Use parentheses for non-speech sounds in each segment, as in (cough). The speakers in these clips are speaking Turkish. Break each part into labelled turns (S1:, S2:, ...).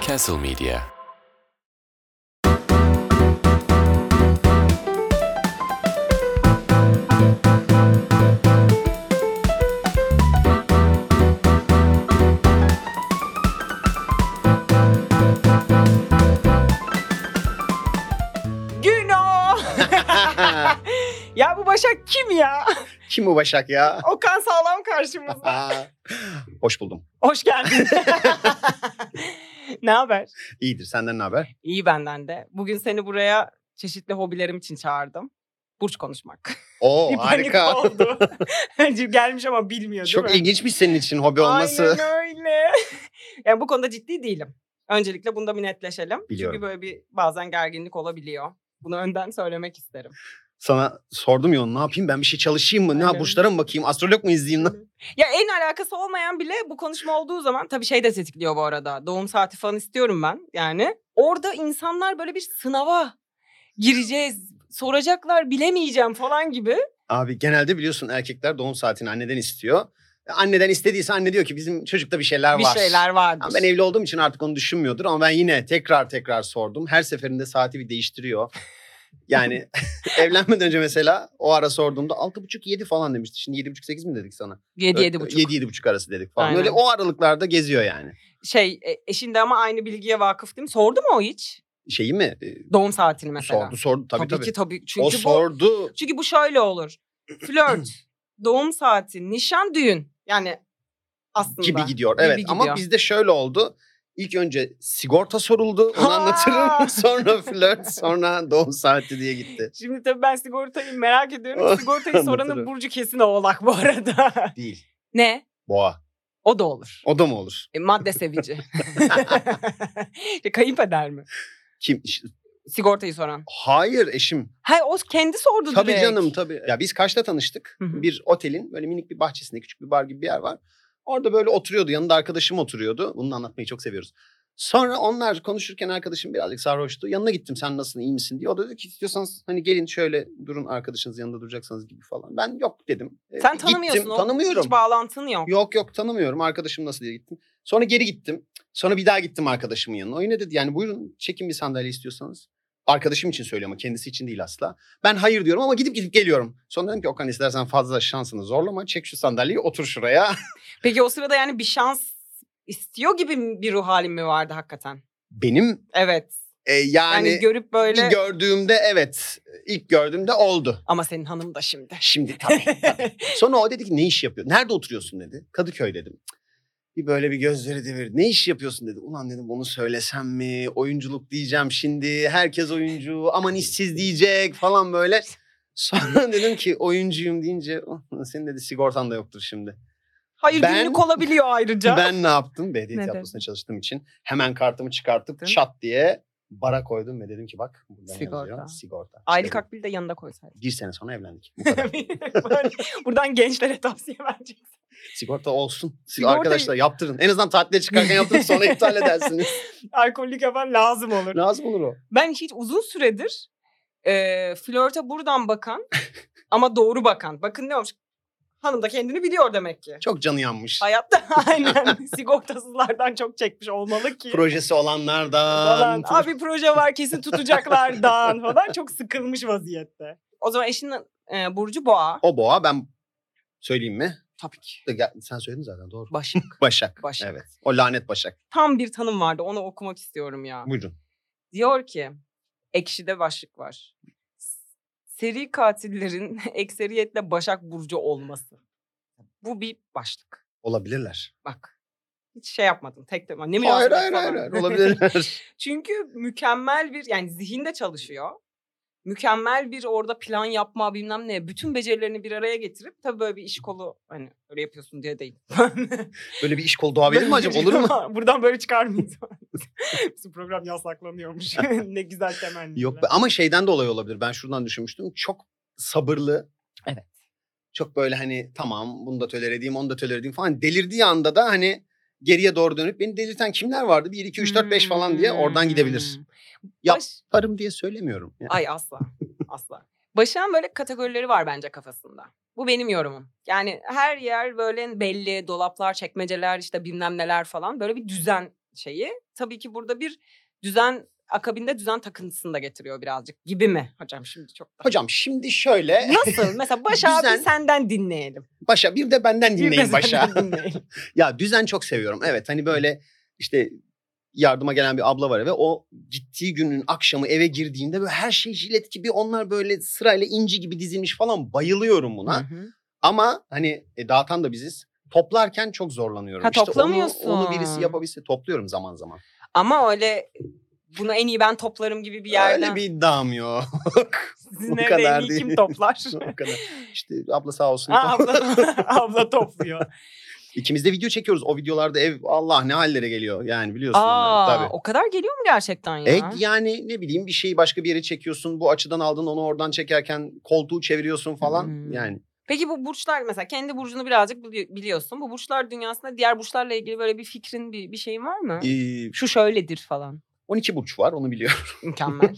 S1: Castle Media.
S2: Güno. ya bu Başak kim ya?
S3: (laughs) Kim bu
S2: (laughs)
S3: Başak ya?
S2: Okan Sağlam karşımızda.
S3: Aa, Hoş buldum.
S2: Hoş
S3: (laughs)
S2: geldin. ne haber?
S3: İyidir. Senden ne haber?
S2: İyi benden de. Bugün seni buraya çeşitli hobilerim için çağırdım. Burç konuşmak.
S3: Oo
S2: Bir panik
S3: harika. (laughs)
S2: oldu. Gelmiş ama bilmiyor değil mi?
S3: Çok ilginçmiş senin için hobi olması.
S2: Aynen öyle. yani bu konuda ciddi değilim. Öncelikle bunda bir netleşelim.
S3: Biliyorum.
S2: Çünkü böyle bir bazen gerginlik olabiliyor. Bunu önden söylemek isterim.
S3: Sana sordum ya onu, ne yapayım ben bir şey çalışayım mı? Ne
S2: Aynen.
S3: burçlara mı bakayım? Astrolog mu izleyeyim? Ne-
S2: Ya en alakası olmayan bile bu konuşma olduğu zaman tabii şey de tetikliyor bu arada. Doğum saati falan istiyorum ben yani. Orada insanlar böyle bir sınava gireceğiz. Soracaklar bilemeyeceğim falan gibi.
S3: Abi genelde biliyorsun erkekler doğum saatini anneden istiyor. Anneden istediyse anne diyor ki bizim çocukta bir şeyler
S2: bir
S3: var.
S2: şeyler vardır.
S3: Ama ben evli olduğum için artık onu düşünmüyordur ama ben yine tekrar tekrar sordum. Her seferinde saati
S2: (laughs)
S3: bir değiştiriyor. Yani (laughs) evlenmeden önce mesela o ara sorduğumda altı buçuk yedi falan demişti. Şimdi yedi buçuk sekiz mi dedik sana?
S2: 7 7 buçuk.
S3: 7 7 buçuk arası dedik falan.
S2: Aynen.
S3: Öyle o aralıklarda geziyor yani.
S2: Şey e, eşin de ama aynı bilgiye vakıf değil mi? Sordu mu o hiç?
S3: Şeyi mi? Ee,
S2: Doğum saatini mesela.
S3: Sordu sordu tabii tabii.
S2: ki tabii.
S3: o
S2: Çünkü bu
S3: sordu.
S2: Çünkü bu şöyle olur.
S3: (clears throat)
S2: Flört, doğum saati, nişan, düğün. Yani aslında.
S3: gibi gidiyor.
S2: Gibi
S3: evet ama
S2: gidiyor.
S3: bizde şöyle oldu. İlk önce
S2: (laughs)
S3: sigorta soruldu. Onu
S2: Ha!
S3: anlatırım. (laughs) sonra flört, sonra doğum saati diye gitti.
S2: (laughs) Şimdi tabii ben sigortayı merak
S3: (laughs)
S2: ediyorum. Sigortayı soranın
S3: Anlatırım.
S2: burcu kesin oğlak bu arada.
S3: Değil.
S2: (laughs) ne?
S3: Boğa.
S2: O da olur.
S3: O da mı olur?
S2: E, madde sevici. e, (laughs) kayınpeder mi?
S3: Kim?
S2: Sigortayı soran.
S3: Hayır eşim.
S2: Hayır o kendi sordu
S3: Tabii
S2: direkt.
S3: canım tabii. Ya biz Kaş'ta tanıştık.
S2: Hı hı.
S3: Bir otelin böyle minik bir bahçesinde küçük bir bar gibi bir yer var. Orada böyle oturuyordu. Yanında arkadaşım oturuyordu. Bunu da anlatmayı çok seviyoruz. Sonra onlar konuşurken arkadaşım birazcık sarhoştu. Yanına gittim sen nasılsın iyi misin diye. O da dedi ki istiyorsanız hani gelin şöyle durun arkadaşınız yanında duracaksanız gibi falan. Ben yok dedim. Ee,
S2: Sen tanımıyorsun.
S3: gittim,
S2: o-
S3: Tanımıyorum.
S2: Hiç bağlantın yok.
S3: Yok yok tanımıyorum arkadaşım nasıl diye gittim. Sonra geri gittim. Sonra bir daha gittim arkadaşımın yanına. O yine dedi yani buyurun çekin bir sandalye istiyorsanız. Arkadaşım için söylüyorum ama kendisi için değil asla. Ben hayır diyorum ama gidip gidip geliyorum. Sonra dedim ki Okan istersen fazla şansını zorlama. Çek şu sandalyeyi otur şuraya. (laughs)
S2: Peki o sırada yani bir şans istiyor gibi bir ruh halim mi vardı hakikaten?
S3: Benim
S2: Evet.
S3: e,
S2: Yani,
S3: yani,
S2: görüp böyle
S3: bir gördüğümde evet ilk gördüğümde oldu.
S2: ama senin hanım da şimdi.
S3: (laughs) Şimdi tabii. tabii. Sonra o dedi ki ne iş yapıyor? Nerede oturuyorsun dedi. Kadıköy dedim. Cık. Bir böyle bir gözleri devirdi. Ne iş yapıyorsun dedi. Ulan dedim bunu söylesem mi? Oyunculuk diyeceğim şimdi. Herkes oyuncu. Aman işsiz diyecek falan böyle. Sonra (laughs) dedim ki oyuncuyum deyince "Oh, senin dedi sigortan da yoktur şimdi.
S2: Hayır
S3: Ben-
S2: günlük olabiliyor ayrıca.
S3: Ben ne yaptım? Belediye
S2: Ne
S3: tiyatrosunda çalıştığım için hemen kartımı çıkartıp
S2: Değil mi?
S3: çat diye bara koydum ve dedim ki bak buradan
S2: Sigorta.
S3: yazıyor, sigorta.
S2: Aylık
S3: İşte
S2: akbili de yanında koysaydın.
S3: bir sene sonra evlendik. Bu kadar.
S2: (laughs) Böyle Buradan gençlere tavsiye vereceksin.
S3: Sigorta olsun.
S2: Sigorta-
S3: Arkadaşlar yaptırın. En azından tatile çıkarken yaptırın sonra
S2: (laughs)
S3: iptal edersiniz.
S2: Alkollük yapan lazım olur.
S3: Lazım olur o.
S2: Ben hiç uzun süredir e, flörte buradan (laughs) bakan ama doğru bakan. Bakın ne olmuş? Hanım da kendini biliyor demek ki.
S3: Çok canı yanmış.
S2: Hayatta (laughs) aynen sigortasızlardan çok çekmiş olmalı ki.
S3: Projesi olanlardan.
S2: falan. Abi proje var kesin tutacaklardan falan çok sıkılmış vaziyette. O zaman eşin e, Burcu Boğa.
S3: O boğa ben söyleyeyim mi?
S2: Tabii ki.
S3: Ya, Sen söyledin zaten doğru.
S2: Başak.
S3: Başak.
S2: Başak.
S3: Evet. O lanet Başak.
S2: Tam bir tanım vardı onu okumak istiyorum ya.
S3: Buyurun.
S2: Diyor ki ekşide başlık var. Seri katillerin (laughs) ekseriyetle Başak Burcu olması. Bu bir başlık.
S3: Olabilirler.
S2: Bak. Hiç şey yapmadım. Tek tek. Ne
S3: Hayır
S2: münasebet
S3: hayır
S2: falan.
S3: hayır. hayır. Olabilirler.
S2: (laughs) Çünkü mükemmel bir yani zihinde çalışıyor. Mükemmel bir orada plan yapma bilmem ne. Bütün becerilerini bir araya getirip tabii böyle bir iş kolu hani öyle yapıyorsun diye değil. (laughs)
S3: Böyle bir iş kolu doğabilir mi acaba? Olur mu?
S2: Buradan böyle çıkar mıyız? (laughs) Bizim program yasaklanıyormuş. (laughs) ne güzel temenniler.
S3: Yok be. ama şeyden dolayı olabilir. Ben şuradan düşünmüştüm. Çok sabırlı.
S2: Evet.
S3: Çok böyle hani tamam bunu da tolere edeyim onu da tolere edeyim falan. Delirdiği anda da hani geriye doğru dönüp beni delirten kimler vardı? 1, 2, 3, 4, 5 falan diye oradan gidebilir.
S2: Hmm.
S3: Yap.
S2: Baş-
S3: Yaparım diye söylemiyorum. Yani
S2: Ay asla. Asla. Başak'ın böyle kategorileri var bence kafasında. Bu benim yorumum. Yani her yer böyle belli dolaplar, çekmeceler işte bilmem neler falan böyle bir düzen şeyi. Tabii ki burada bir düzen akabinde düzen takıntısını da getiriyor birazcık gibi mi hocam şimdi çok da.
S3: Hocam şimdi şöyle.
S2: Nasıl? Mesela Başak'ı
S3: (laughs) Düzen-
S2: bir senden dinleyelim.
S3: Başa bir de benden
S2: Bir de
S3: dinleyin Başa.
S2: senden dinleyelim.
S3: Ya düzen çok seviyorum. Evet hani böyle işte yardıma gelen bir abla var ve o gittiği günün akşamı eve girdiğinde böyle her şey jilet gibi onlar böyle sırayla inci gibi dizilmiş falan bayılıyorum buna.
S2: Hı hı.
S3: Ama hani e, dağıtan da biziz. Toplarken çok zorlanıyorum.
S2: Ha,
S3: İşte onu-
S2: toplamıyorsun.
S3: Onu, birisi yapabilse topluyorum zaman zaman.
S2: Ama öyle bunu en iyi ben toplarım gibi bir yerden. (laughs)
S3: Öyle bir iddiam yok. (laughs)
S2: Sizin
S3: bu
S2: evde
S3: kadar
S2: en iyi
S3: değil.
S2: kim toplar?
S3: (laughs) o kadar. İşte abla sağ olsun.
S2: Aa, abla,
S3: (laughs)
S2: abla topluyor.
S3: İkimiz de video çekiyoruz. O videolarda ev Allah ne hallere geliyor yani biliyorsun.
S2: Aa,
S3: onları, tabii.
S2: o kadar geliyor mu gerçekten ya?
S3: E yani ne bileyim bir şeyi başka bir yere çekiyorsun. Bu açıdan aldın onu oradan çekerken koltuğu çeviriyorsun falan.
S2: Hmm.
S3: Yani
S2: Peki bu burçlar mesela kendi burcunu birazcık bili- biliyorsun. Bu burçlar dünyasında diğer burçlarla ilgili böyle bir fikrin bir, bir şeyin var mı?
S3: e,
S2: Şu şöyledir falan.
S3: 12 burç var onu biliyorum. (laughs)
S2: Mükemmel.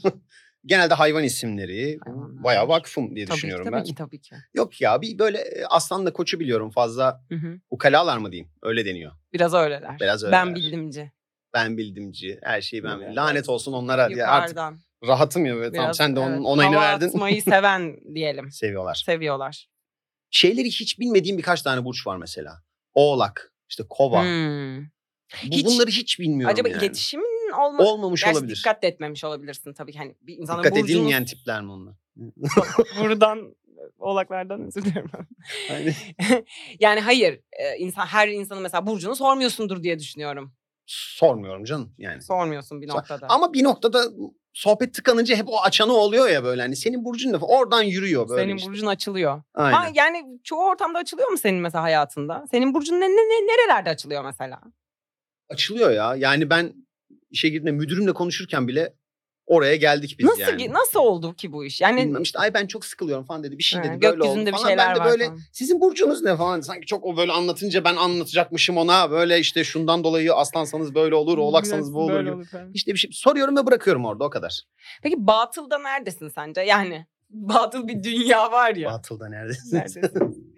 S3: Genelde hayvan isimleri
S2: Hayvanlar.
S3: bayağı vakfım diye
S2: tabii ki,
S3: düşünüyorum
S2: tabii
S3: ben.
S2: ki tabii ki.
S3: Yok ya bir böyle e, aslanla koçu biliyorum fazla
S2: Hı hı.
S3: ukalalar mı diyeyim öyle deniyor.
S2: Biraz öyleler.
S3: Biraz
S2: Ben
S3: öyleler.
S2: bildimci.
S3: Ben bildimci her şeyi ben bildim.
S2: Evet.
S3: Lanet olsun onlara diye artık
S2: Yukarıdan.
S3: rahatım ya böyle tamam
S2: biraz,
S3: sen de onun
S2: evet,
S3: onayını
S2: hava
S3: verdin. (laughs)
S2: atmayı seven diyelim.
S3: Seviyorlar.
S2: Seviyorlar.
S3: Şeyleri hiç bilmediğim birkaç tane burç var mesela. Oğlak, işte kova.
S2: Hmm.
S3: Bu-
S2: Hiç-
S3: bunları hiç bilmiyorum
S2: Acaba
S3: yani.
S2: iletişimin olma...
S3: Olmamış
S2: Gerçi
S3: olabilir.
S2: dikkat de etmemiş olabilirsin tabii ki. Hani bir insanın
S3: Dikkat
S2: burcunu
S3: edilmeyen tipler mi onlar?
S2: buradan e, oğlaklardan özür dilerim.
S3: Aynen.
S2: (laughs) yani hayır e, insan her insanın mesela burcunu sormuyorsundur diye düşünüyorum.
S3: Sormuyorum canım yani.
S2: Sormuyorsun bir
S3: Sor-
S2: noktada.
S3: Ama bir noktada sohbet tıkanınca hep o açanı oluyor ya böyle. Hani senin burcun ne? Oradan yürüyor böyle
S2: senin
S3: işte.
S2: burcun açılıyor.
S3: Aynen.
S2: Ha, yani çoğu ortamda açılıyor mu senin mesela hayatında? Senin burcun ne, ne, ne- nerelerde açılıyor mesela?
S3: Açılıyor ya. Yani ben işe girdiğimde müdürümle konuşurken bile oraya geldik biz
S2: nasıl
S3: yani.
S2: gi- nasıl oldu ki bu iş? Yani
S3: Bilmem işte ay ben çok sıkılıyorum falan dedi. Bir şey
S2: Ha,
S3: dedi böyle oldu
S2: gökyüzünde bir
S3: falan.
S2: şeyler
S3: ben de
S2: var
S3: böyle
S2: falan.
S3: sizin burcunuz ne falan. Sanki çok o böyle anlatınca ben anlatacakmışım ona. Böyle işte şundan dolayı aslansanız böyle olur, oğlaksanız bu olur gibi. İşte bir şey soruyorum ve bırakıyorum orada o kadar.
S2: Peki batılda neredesin sence? Yani (laughs) batıl bir dünya var ya.
S3: Batılda
S2: (laughs)
S3: neredesin? (laughs)
S2: Neredesin?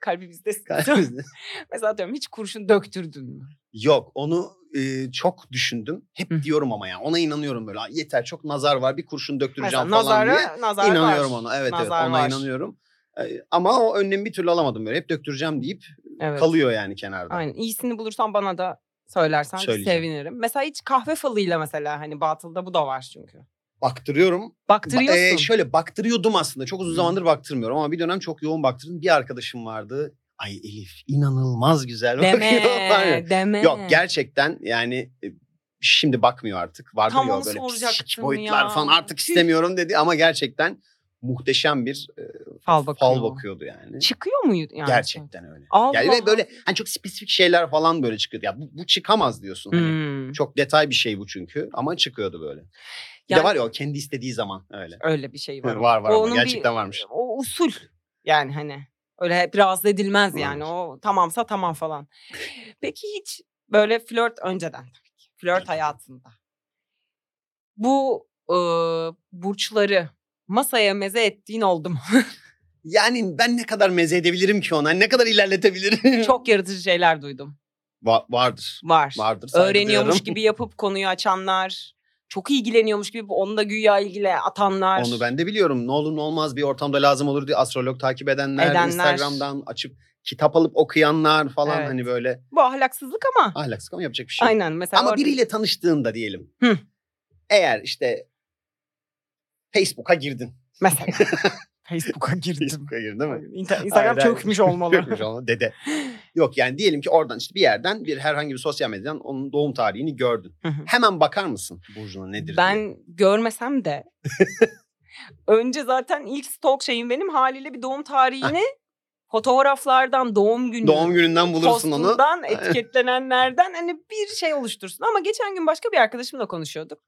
S2: Kalbimizdesin.
S3: Kalbimizde.
S2: (laughs) mesela diyorum hiç kurşun döktürdün mü?
S3: Yok onu e, çok düşündüm. Hep
S2: Hı.
S3: diyorum ama ya ona inanıyorum böyle. "Aa, Yeter çok nazar var bir kurşun döktüreceğim
S2: Mesela
S3: falan diye.
S2: nazara, nazar var.
S3: İnanıyorum ona evet
S2: Nazar
S3: evet ona
S2: var.
S3: inanıyorum. E, ama o önlemi bir türlü alamadım böyle. Hep döktüreceğim deyip
S2: Evet.
S3: kalıyor yani kenarda.
S2: Aynen. İyisini bulursan bana da söylersen
S3: Söyleyeceğim.
S2: sevinirim. Mesela hiç kahve falıyla mesela hani batılda bu da var çünkü.
S3: Baktırıyorum.
S2: Baktırıyorsun.
S3: Ba- e, şöyle baktırıyordum aslında. Çok uzun
S2: Hı.
S3: zamandır baktırmıyorum ama bir dönem çok yoğun baktırdım. Bir arkadaşım vardı. Ay Elif inanılmaz güzel. bakıyor."
S2: (laughs) deme, deme.
S3: Yok gerçekten yani e, şimdi bakmıyor artık. Vardır
S2: Tam
S3: ya
S2: onu
S3: böyle psik
S2: soracaktım
S3: boyutlar
S2: ya.
S3: falan artık istemiyorum dedi ama gerçekten muhteşem bir e,
S2: Fal bakıyor.
S3: fal bakıyordu yani.
S2: Çıkıyor mu yani?
S3: gerçekten öyle.
S2: Allah
S3: Yani ve böyle
S2: Allah.
S3: hani çok spesifik şeyler falan böyle çıkıyordu. Ya bu, bu çıkamaz diyorsun hani.
S2: Hmm.
S3: Çok detay bir şey bu çünkü ama çıkıyordu böyle. Bir
S2: Yani-
S3: de var ya o kendi istediği zaman öyle.
S2: Öyle bir şey var.
S3: var var
S2: O
S3: ama
S2: onun bir-
S3: gerçekten varmış.
S2: O usul yani hani. Öyle hep rahatsız edilmez yani.
S3: Varmış.
S2: O tamamsa tamam falan. Peki hiç böyle flört önceden tabii ki. Flört hayatında. Bu e, burçları masaya meze ettiğin oldu mu?
S3: Yani ben ne kadar meze edebilirim ki ona? Ne kadar ilerletebilirim?
S2: Çok yaratıcı şeyler duydum.
S3: Va- vardır.
S2: Var.
S3: Vardır. saygı
S2: Öğreniyormuş
S3: duyarım.
S2: gibi yapıp konuyu açanlar. Çok ilgileniyormuş gibi onu da güya ilgile atanlar.
S3: Onu ben de biliyorum. Ne olur ne olmaz bir ortamda lazım olur diye astrolog takip edenler,
S2: Edenler.
S3: Instagram'dan açıp kitap alıp okuyanlar falan
S2: Evet.
S3: hani böyle
S2: Bu ahlaksızlık ama.
S3: ahlaksız ama yapacak bir şey. yok.
S2: Aynen mesela.
S3: Ama
S2: orada-
S3: biriyle tanıştığında diyelim.
S2: Hı.
S3: Eğer işte Facebook'a girdin. (laughs)
S2: Mesela. Facebook'a girdim.
S3: Facebook'a girdin değil mi?
S2: İnter- Instagram
S3: Hayır, hayır.
S2: çökmüş olmalı.
S3: Çökmüş
S2: (laughs)
S3: ama dede. Yok yani diyelim ki oradan işte bir yerden bir herhangi bir sosyal medyadan onun doğum tarihini gördün.
S2: Hı hı.
S3: Hemen bakar mısın Burcu'na (laughs) nedir diye?
S2: ben görmesem
S3: (laughs)
S2: de önce zaten ilk stalk şeyim benim haliyle bir doğum
S3: (laughs)
S2: tarihini fotoğraflardan doğum günü
S3: Doğum gününden bulursun onu.
S2: postundan, etiketlenenlerden hani bir şey oluştursun. Ama geçen gün başka bir arkadaşımla konuşuyorduk.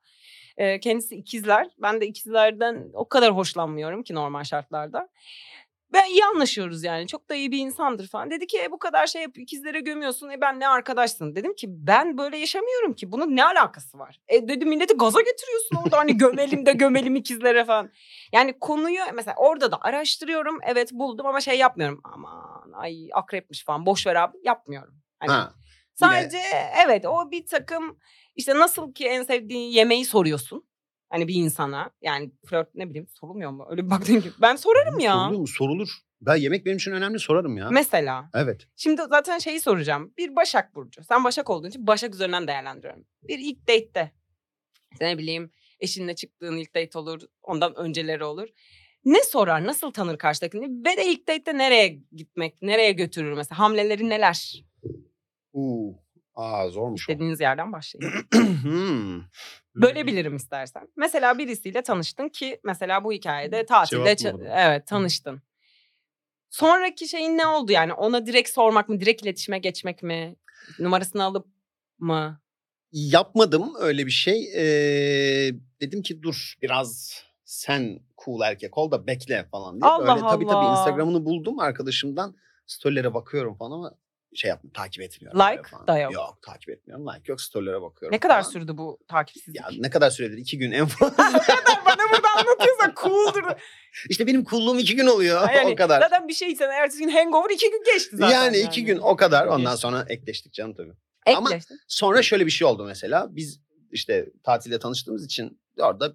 S2: Ee, kendisi ikizler. Ben de ikizlerden o kadar hoşlanmıyorum ki normal şartlarda. Ve iyi anlaşıyoruz yani. Çok da iyi bir insandır falan. Dedi ki e, bu kadar şey yap, ikizlere gömüyorsun. E ben ne arkadaşsın? Dedim ki ben böyle yaşamıyorum ki. Bunun ne alakası var? E dedi milleti gaza getiriyorsun orada hani gömelim de gömelim ikizlere falan. Yani konuyu mesela orada da araştırıyorum. Evet buldum ama şey yapmıyorum. Aman ay akrepmiş falan. Boş ver abi yapmıyorum. Hani
S3: Ha.
S2: Sadece evet o bir takım işte nasıl ki en sevdiğin yemeği soruyorsun. Hani bir insana yani flört ne bileyim sorulmuyor mu? Öyle bir baktığın gibi. Ben sorarım ya.
S3: Sorulur mu? Sorulur. Ben yemek benim için önemli sorarım ya.
S2: Mesela
S3: evet.
S2: şimdi zaten şeyi soracağım. Bir Başak Burcu. Sen Başak olduğun için Başak üzerinden değerlendiriyorum. Bir ilk date'te. İşte ne bileyim eşinle çıktığın ilk date olur. Ondan önceleri olur. Ne sorar? Nasıl tanır karşıdakini? Ve de ilk date'te nereye gitmek? Nereye götürür mesela? Hamleleri neler?
S3: Uu. Aa zormuş. o.
S2: Dediğiniz yerden başlayın.
S3: (clears throat) Hmm.
S2: Bölebilirim istersen. Mesela birisiyle tanıştın ki mesela bu hikayede tatilde
S4: Cevap mı
S2: ça-
S4: bu?
S2: evet tanıştın. Sonraki şeyin ne oldu yani? Ona direkt sormak mı, direkt iletişime geçmek mi? Numarasını alıp mı?
S3: Yapmadım öyle bir şey. Ee, dedim ki dur biraz sen cool erkek ol da bekle falan diye.
S2: Allah
S3: Böyle tabii tabii
S2: Allah.
S3: Instagram'ını buldum arkadaşımdan. Storylere bakıyorum falan ama şey yaptım takip etmiyorum.
S2: Like
S3: böyle falan.
S2: da yok.
S3: Yok takip etmiyorum. Like yok storylere bakıyorum.
S2: Ne kadar
S3: falan.
S2: sürdü bu takipsizlik? (laughs)
S3: Ya ne kadar süredir? iki gün en fazla. (laughs)
S2: Bana burada anlatıyorsa cooldur.
S3: işte benim kulluğum iki gün oluyor
S2: Yani
S3: o kadar.
S2: Zaten bir şeysen ertesi gün hangover iki gün geçti zaten.
S3: Yani iki gün o kadar. Ondan sonra ekleştik canım tabii. Ama-
S2: (laughs) Ekleştim.
S3: Sonra şöyle bir şey oldu mesela. Biz işte tatilde tanıştığımız için orada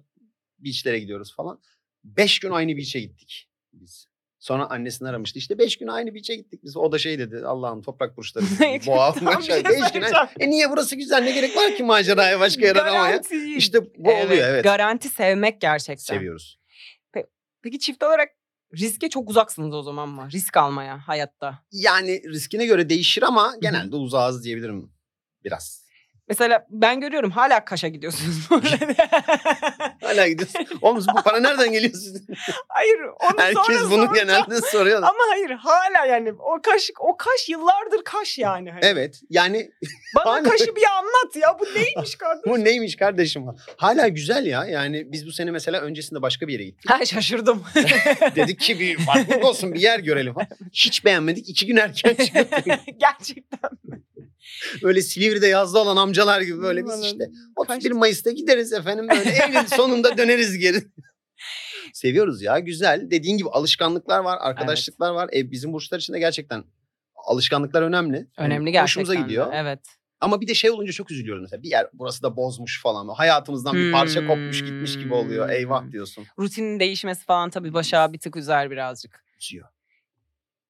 S3: beachlere gidiyoruz falan. Beş gün aynı beach'e gittik biz. Sonra annesini aramıştı. İşte beş gün aynı beach'e gittik biz. O da şey dedi Allah'ım
S2: (laughs)
S3: toprak burçları. Boğa
S2: Tam bir
S3: maşa.
S2: şey
S3: beş gün.
S2: söyleyeceğim.
S3: E niye burası güzel? Ne gerek var ki maceraya başka yer aramaya?
S2: Garanti.
S3: İşte bu oluyor evet.
S2: Garanti sevmek gerçekten.
S3: Seviyoruz.
S2: Peki çift olarak riske çok uzaksınız o zaman mı? Risk almaya hayatta.
S3: Yani riskine göre değişir ama genelde uzağız diyebilirim biraz.
S2: Mesela ben görüyorum hala kaşa gidiyorsunuz.
S3: (laughs) Hala gidiyorsun. Oğlum bu para nereden geliyor sizin?
S2: hayır onu
S3: Herkes
S2: sonra
S3: bunu
S2: soracağım.
S3: genelde soruyor.
S2: Ama hayır hala yani o kaş o kaş yıllardır kaş yani. Hani.
S3: Evet yani
S2: Bana
S3: E, aynen.
S2: kaşı bir anlat ya bu neymiş
S3: (laughs)
S2: kardeşim?
S3: Bu neymiş kardeşim? Hala güzel ya. Yani biz bu sene mesela öncesinde başka bir yere gittik.
S2: Ha
S3: (laughs)
S2: şaşırdım.
S3: Dedik ki bir farklılık olsun bir yer görelim. falan. Hiç beğenmedik. iki gün erken çıktık.
S2: Gerçekten.
S3: Böyle Silivri'de yazda olan amcalar gibi böyle biz işte 31 Mayıs'ta gideriz efendim böyle Eylül sonunda döneriz geri. Seviyoruz ya güzel. Dediğin gibi alışkanlıklar var, arkadaşlıklar var. E, bizim burçlar için de gerçekten alışkanlıklar önemli.
S2: Önemli
S3: Yani
S2: gerçekten.
S3: Hoşumuza gidiyor.
S2: Evet.
S3: Ama bir de şey olunca çok üzülüyoruz mesela. Bir yer burası da bozmuş falan. Hayatımızdan bir parça kopmuş gitmiş gibi oluyor.
S2: Hmm.
S3: Eyvah diyorsun.
S2: Rutinin değişmesi falan tabii başa bir tık üzer birazcık.
S3: Üzüyor.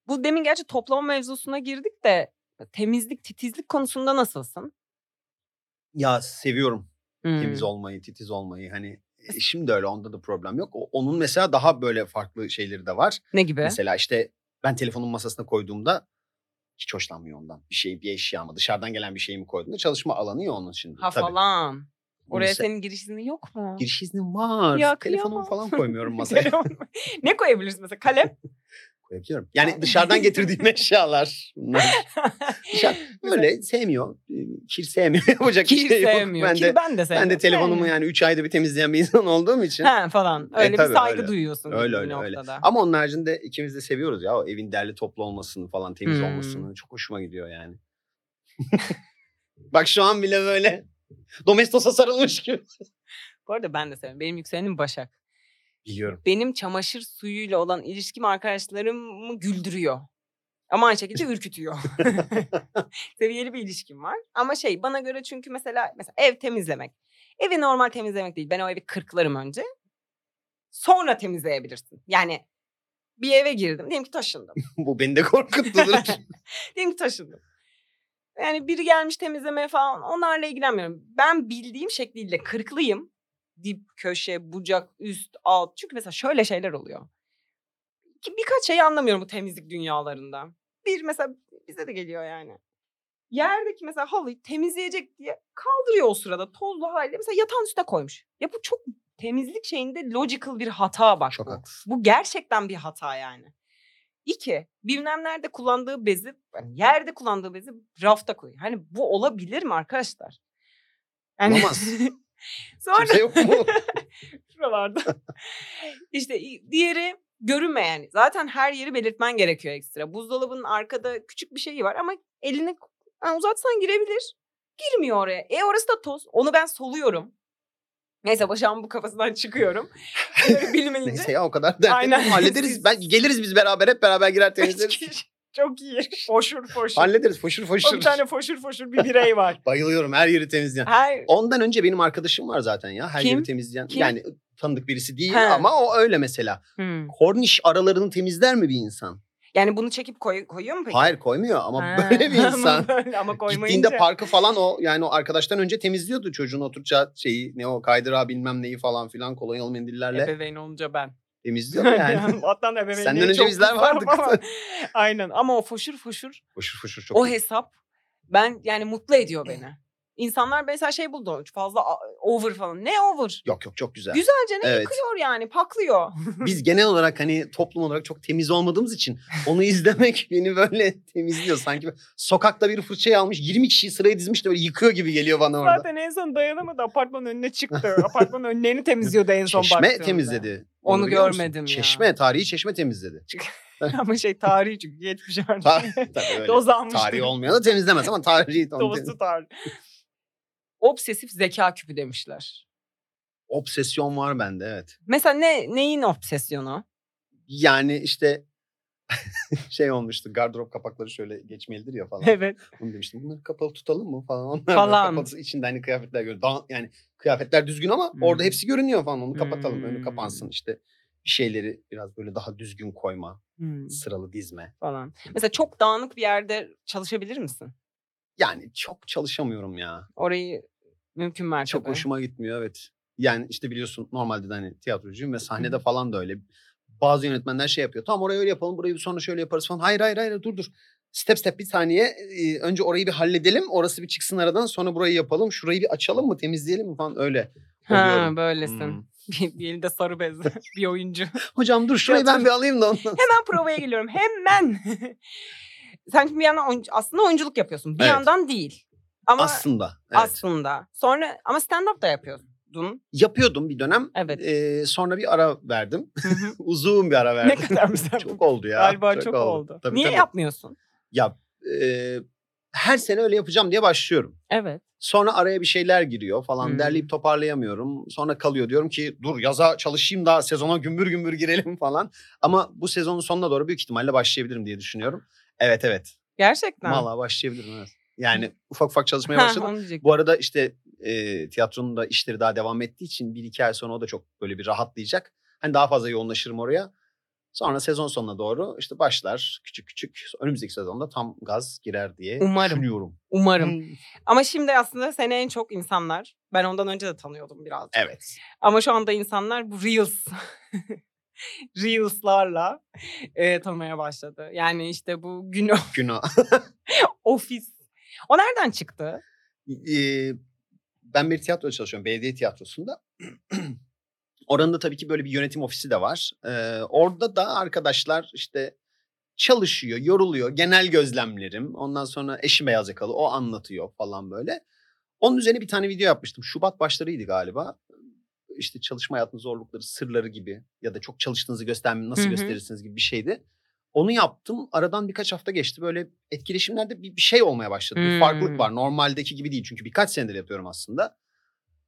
S2: Bu demin gerçi toplama mevzusuna girdik de temizlik, titizlik konusunda nasılsın?
S3: Ya seviyorum
S2: Hmm.
S3: temiz olmayı, titiz olmayı. Hani e, şimdi öyle onda da problem yok. O- Onun mesela daha böyle farklı şeyleri de var.
S2: Ne gibi?
S3: Mesela işte ben telefonun masasına koyduğumda hiç hoşlanmıyor ondan. Bir şey, bir eşya mı, dışarıdan gelen bir şey mi koyduğumda çalışma alanı ya onun şimdi.
S2: ha
S3: Tabii.
S2: falan. Oraya
S3: Mesela-
S2: senin giriş izni yok mu? (laughs)
S3: Giriş iznim var.
S2: Ya,
S3: Telefonumu
S2: kıyamam.
S3: falan
S2: (laughs)
S3: koymuyorum masaya.
S2: ne koyabiliriz mesela? Kalem?
S3: Koyabiliyorum.
S2: (laughs)
S3: Yani dışarıdan getirdiğim eşyalar. Bunlar. Dışarı- Öyle sevmiyor. E, Kir sevmiyor. (laughs) Yapacak bir
S2: Kir
S3: şey yok.
S2: sevmiyor.
S3: Ben
S2: Kir
S3: de,
S2: ben de sevmiyorum.
S3: ben de telefonumu yani 3 ayda bir temizleyen bir (laughs) insan olduğum için.
S2: Ha falan. Öyle
S3: tabii,
S2: bir saygı
S3: öyle.
S2: duyuyorsun.
S3: Öyle,
S2: bir
S3: öyle, öyle.
S2: noktada.
S3: Ama onun haricinde ikimiz de seviyoruz ya. O evin derli toplu olmasını falan temiz
S2: Hmm.
S3: olmasını. Çok hoşuma gidiyor yani. (laughs) Bak şu an bile böyle Domestos'a sarılmış gibi.
S2: Bu arada ben de seviyorum. Benim yükselenim Başak.
S3: Biliyorum. (laughs)
S2: Benim çamaşır suyuyla olan ilişkim arkadaşlarımı güldürüyor. Ama aynı şekilde ürkütüyor. (laughs) Seviyeli bir ilişkim var. Ama şey bana göre çünkü mesela mesela ev temizlemek. Evi normal temizlemek değil. Ben o evi kırklarım önce. Sonra temizleyebilirsin. Yani bir eve girdim. Diyelim ki taşındım.
S3: Bu beni de korkuttu.
S2: (laughs)
S3: dur.
S2: Diyelim ki taşındım. Yani biri gelmiş temizlemeye falan onlarla ilgilenmiyorum. Ben bildiğim şekliyle kırklıyım. Dip, köşe, bucak, üst, alt. Çünkü mesela şöyle şeyler oluyor. Ki birkaç şeyi anlamıyorum bu temizlik dünyalarında. Bir mesela bize de geliyor yani. Yerdeki mesela halıyı temizleyecek diye kaldırıyor o sırada tozlu haliyle. Mesela yatağın üstüne koymuş. Ya bu çok temizlik şeyinde logical bir hata bak
S3: Çok
S2: bu.
S3: haklısın.
S2: Bu gerçekten bir hata yani. İki, bilmem nerede kullandığı bezi, yani yerde kullandığı bezi rafta koyuyor. Hani bu olabilir mi arkadaşlar? Yani-
S3: Olamaz.
S2: (laughs) Sonra (laughs)
S3: Kimse yok mu? (laughs)
S2: şuralarda. (laughs) işte i- diğeri görünmeyen. Zaten her yeri belirtmen gerekiyor ekstra. Buzdolabının arkada küçük bir şeyi var ama elini ha, uzatsan girebilir. Girmiyor oraya. E orası da toz. Onu ben soluyorum. Neyse Başak'ın bu kafasından
S3: (laughs)
S2: çıkıyorum. Böyle bilmeyince. (laughs)
S3: Neyse ya o kadar dert
S2: Aynen.
S3: etme. hallederiz. Ben geliriz biz beraber hep beraber girer temizleriz.
S2: Çok iyi. Foşur foşur.
S3: hallederiz. Foşur foşur.
S2: Bir tane foşur foşur bir birey
S3: (laughs)
S2: var.
S3: Bayılıyorum her yeri temizleyen.
S2: Her
S3: Ondan önce benim arkadaşım var zaten ya. Her
S2: Kim?
S3: yeri temizleyen.
S2: Kim?
S3: Yani tanıdık birisi değil
S2: He.
S3: ama o öyle mesela.
S2: Hmm.
S3: Korniş aralarını temizler mi bir insan?
S2: Yani bunu çekip koy- koyuyor mu peki?
S3: Hayır koymuyor ama
S2: Ha,
S3: böyle
S2: (laughs)
S3: bir
S2: ama
S3: insan.
S2: böyle, ama koymayınca.
S3: Gittiğinde parkı falan o yani o arkadaştan önce temizliyordu çocuğun oturacağı şeyi ne o kaydırağı bilmem neyi falan filan kolonyalı mendillerle
S2: Ebeveyn olunca ben.
S3: temizliyordu yani.
S2: (laughs) Atlan ebeveynliği
S3: Senden önce
S2: çok
S3: bizler
S2: kızarım
S3: vardık. (laughs)
S2: ama- Aynen ama o foşur foşur
S3: Foşur foşur çok.
S2: o hesap ben yani mutlu ediyor beni. İnsanlar mesela şey buldu fazla a- over falan. Ne over?
S3: Yok yok çok güzel.
S2: Güzelce ne
S3: Evet.
S2: yıkıyor yani paklıyor.
S3: Biz genel olarak hani toplum olarak çok temiz olmadığımız için onu izlemek (laughs) beni böyle temizliyor. Sanki böyle sokakta bir fırçayı almış 20 kişiyi sıraya dizmiş de böyle yıkıyor gibi geliyor bana (laughs) orada.
S2: Zaten en son dayanamadı apartmanın önüne çıktı. apartmanın önlerini temizliyordu en son
S3: Çeşme
S2: baktığımda.
S3: temizledi.
S2: Onu
S3: biliyor musun?
S2: görmedim ya.
S3: Çeşme, tarihi çeşme temizledi.
S2: (laughs) Ama şey tarihi çünkü geçmiş
S3: (laughs) Ta-
S2: artık.
S3: tabii öyle.
S2: Dozanmıştı.
S3: Tarihi olmayanı temizlemez ama tarihi. onu
S2: (laughs)
S3: temiz-
S2: Dozu tarih. Obsesif zeka küpü demişler.
S3: Obsesyon var bende evet.
S2: Mesela ne neyin obsesyonu?
S3: Yani işte (laughs) şey olmuştu gardırop kapakları şöyle geçmelidir ya falan.
S2: Evet.
S3: Onu demiştim bunları kapalı tutalım mı falan. (laughs) Onlar böyle
S2: Falan.
S3: Kapalı, içinde hani kıyafetler görüyor. Daha- yani kıyafetler düzgün ama
S2: Hmm.
S3: orada hepsi görünüyor falan. Onu kapatalım önü
S2: Hmm.
S3: kapansın işte. Bir şeyleri biraz böyle daha düzgün koyma, sıralı dizme.
S2: Hmm, falan. Mesela çok dağınık bir yerde çalışabilir misin?
S3: Yani çok çalışamıyorum ya.
S2: Orayı mümkün mertebe.
S3: Çok hoşuma gitmiyor evet. Yani işte biliyorsun normalde de hani tiyatrocuyum ve sahnede falan da öyle. Bazı yönetmenler şey yapıyor. Tamam orayı öyle yapalım, burayı sonra şöyle yaparız falan. Hayır hayır hayır dur dur. Step step bir saniye. Ee, önce orayı bir halledelim. Orası bir çıksın aradan. Sonra burayı yapalım. Şurayı bir açalım mı, temizleyelim mi falan öyle.
S2: Ha
S3: oluyorum.
S2: böylesin.
S3: Hmm.
S2: Bir, bir elinde sarı bez (laughs) bir
S3: (laughs)
S2: oyuncu.
S3: Hocam dur şurayı ben
S2: Tiyatro-
S3: bir alayım da ondan.
S2: Hemen provaya geliyorum. Hemen. (laughs) Sen şimdi bir yandan oyuncu- aslında oyunculuk yapıyorsun. Bir
S3: Evet.
S2: yandan değil. Ama
S3: Aslında. Evet. E,
S2: aslında. Sonra ama stand-up da yapıyordun.
S3: Yapıyordum bir dönem. (laughs)
S2: Evet.
S3: Ee, sonra bir ara verdim. (laughs)
S2: Hı hı.
S3: Uzun bir ara
S2: ne
S3: verdim.
S2: kadar güzel. bu.
S3: çok oldu ya.
S2: Galiba çok, oldu.
S3: Tabii,
S2: Niye
S3: tabii.
S2: yapmıyorsun?
S3: Ya e, her sene öyle yapacağım diye başlıyorum.
S2: Evet.
S3: Sonra araya bir şeyler giriyor falan
S2: Hmm.
S3: derleyip toparlayamıyorum. Sonra kalıyor diyorum ki dur yaza çalışayım da sezona gümbür gümbür girelim falan. Ama bu sezonun sonuna doğru büyük ihtimalle başlayabilirim diye düşünüyorum. Evet evet.
S2: Gerçekten. (laughs)
S3: Valla başlayabilirim evet. Yani ufak ufak çalışmaya
S2: Ha,
S3: başladım.
S2: onu diyecektim.
S3: Bu arada işte e, tiyatronun da işleri daha devam ettiği için bir iki ay sonra o da çok böyle bir rahatlayacak. Hani daha fazla yoğunlaşırım oraya. Sonra sezon sonuna doğru işte başlar küçük küçük önümüzdeki sezonda tam gaz girer diye
S2: Umarım.
S3: düşünüyorum.
S2: Umarım.
S3: Hmm.
S2: Ama şimdi aslında seni en çok insanlar, ben ondan önce de tanıyordum birazcık.
S3: Evet.
S2: Ama şu anda insanlar bu Reels, (laughs) Reels'larla e, tanımaya başladı. Yani işte bu gün (laughs)
S3: Günah.
S2: ofis. O nereden çıktı?
S3: Ee, ben bir tiyatroda çalışıyorum. Belediye tiyatrosunda. (clears throat) Oranın da tabii ki böyle bir yönetim ofisi de var. Ee, orada da arkadaşlar işte çalışıyor, yoruluyor. Genel gözlemlerim. Ondan sonra eşi beyaz yakalı. O anlatıyor falan böyle. Onun üzerine bir tane video yapmıştım. Şubat başlarıydı galiba. İşte çalışma hayatının zorlukları, sırları gibi ya da çok çalıştığınızı göstermeyi nasıl
S2: Hı hı.
S3: gösterirsiniz gibi bir şeydi. Onu yaptım. Aradan birkaç hafta geçti. Böyle etkileşimlerde bir, bir şey olmaya başladı. Bir
S2: Hmm.
S3: farklılık var. Normaldeki gibi değil. Çünkü birkaç senedir yapıyorum aslında.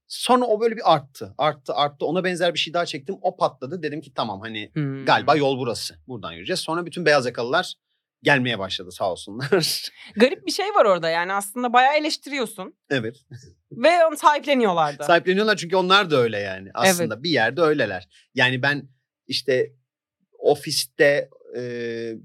S3: Sonra o böyle bir arttı. Arttı, arttı. Ona benzer bir şey daha çektim. O patladı. Dedim ki tamam hani
S2: Hmm.
S3: galiba yol burası. Buradan yürüyeceğiz. Sonra bütün beyaz yakalılar gelmeye başladı sağ olsunlar. (laughs)
S2: Garip bir şey var orada yani aslında bayağı eleştiriyorsun.
S3: evet.
S2: Ve onu sahipleniyorlardı.
S3: Sahipleniyorlar çünkü onlar da öyle yani. Aslında bir yerde öyleler. Yani ben işte ofiste e,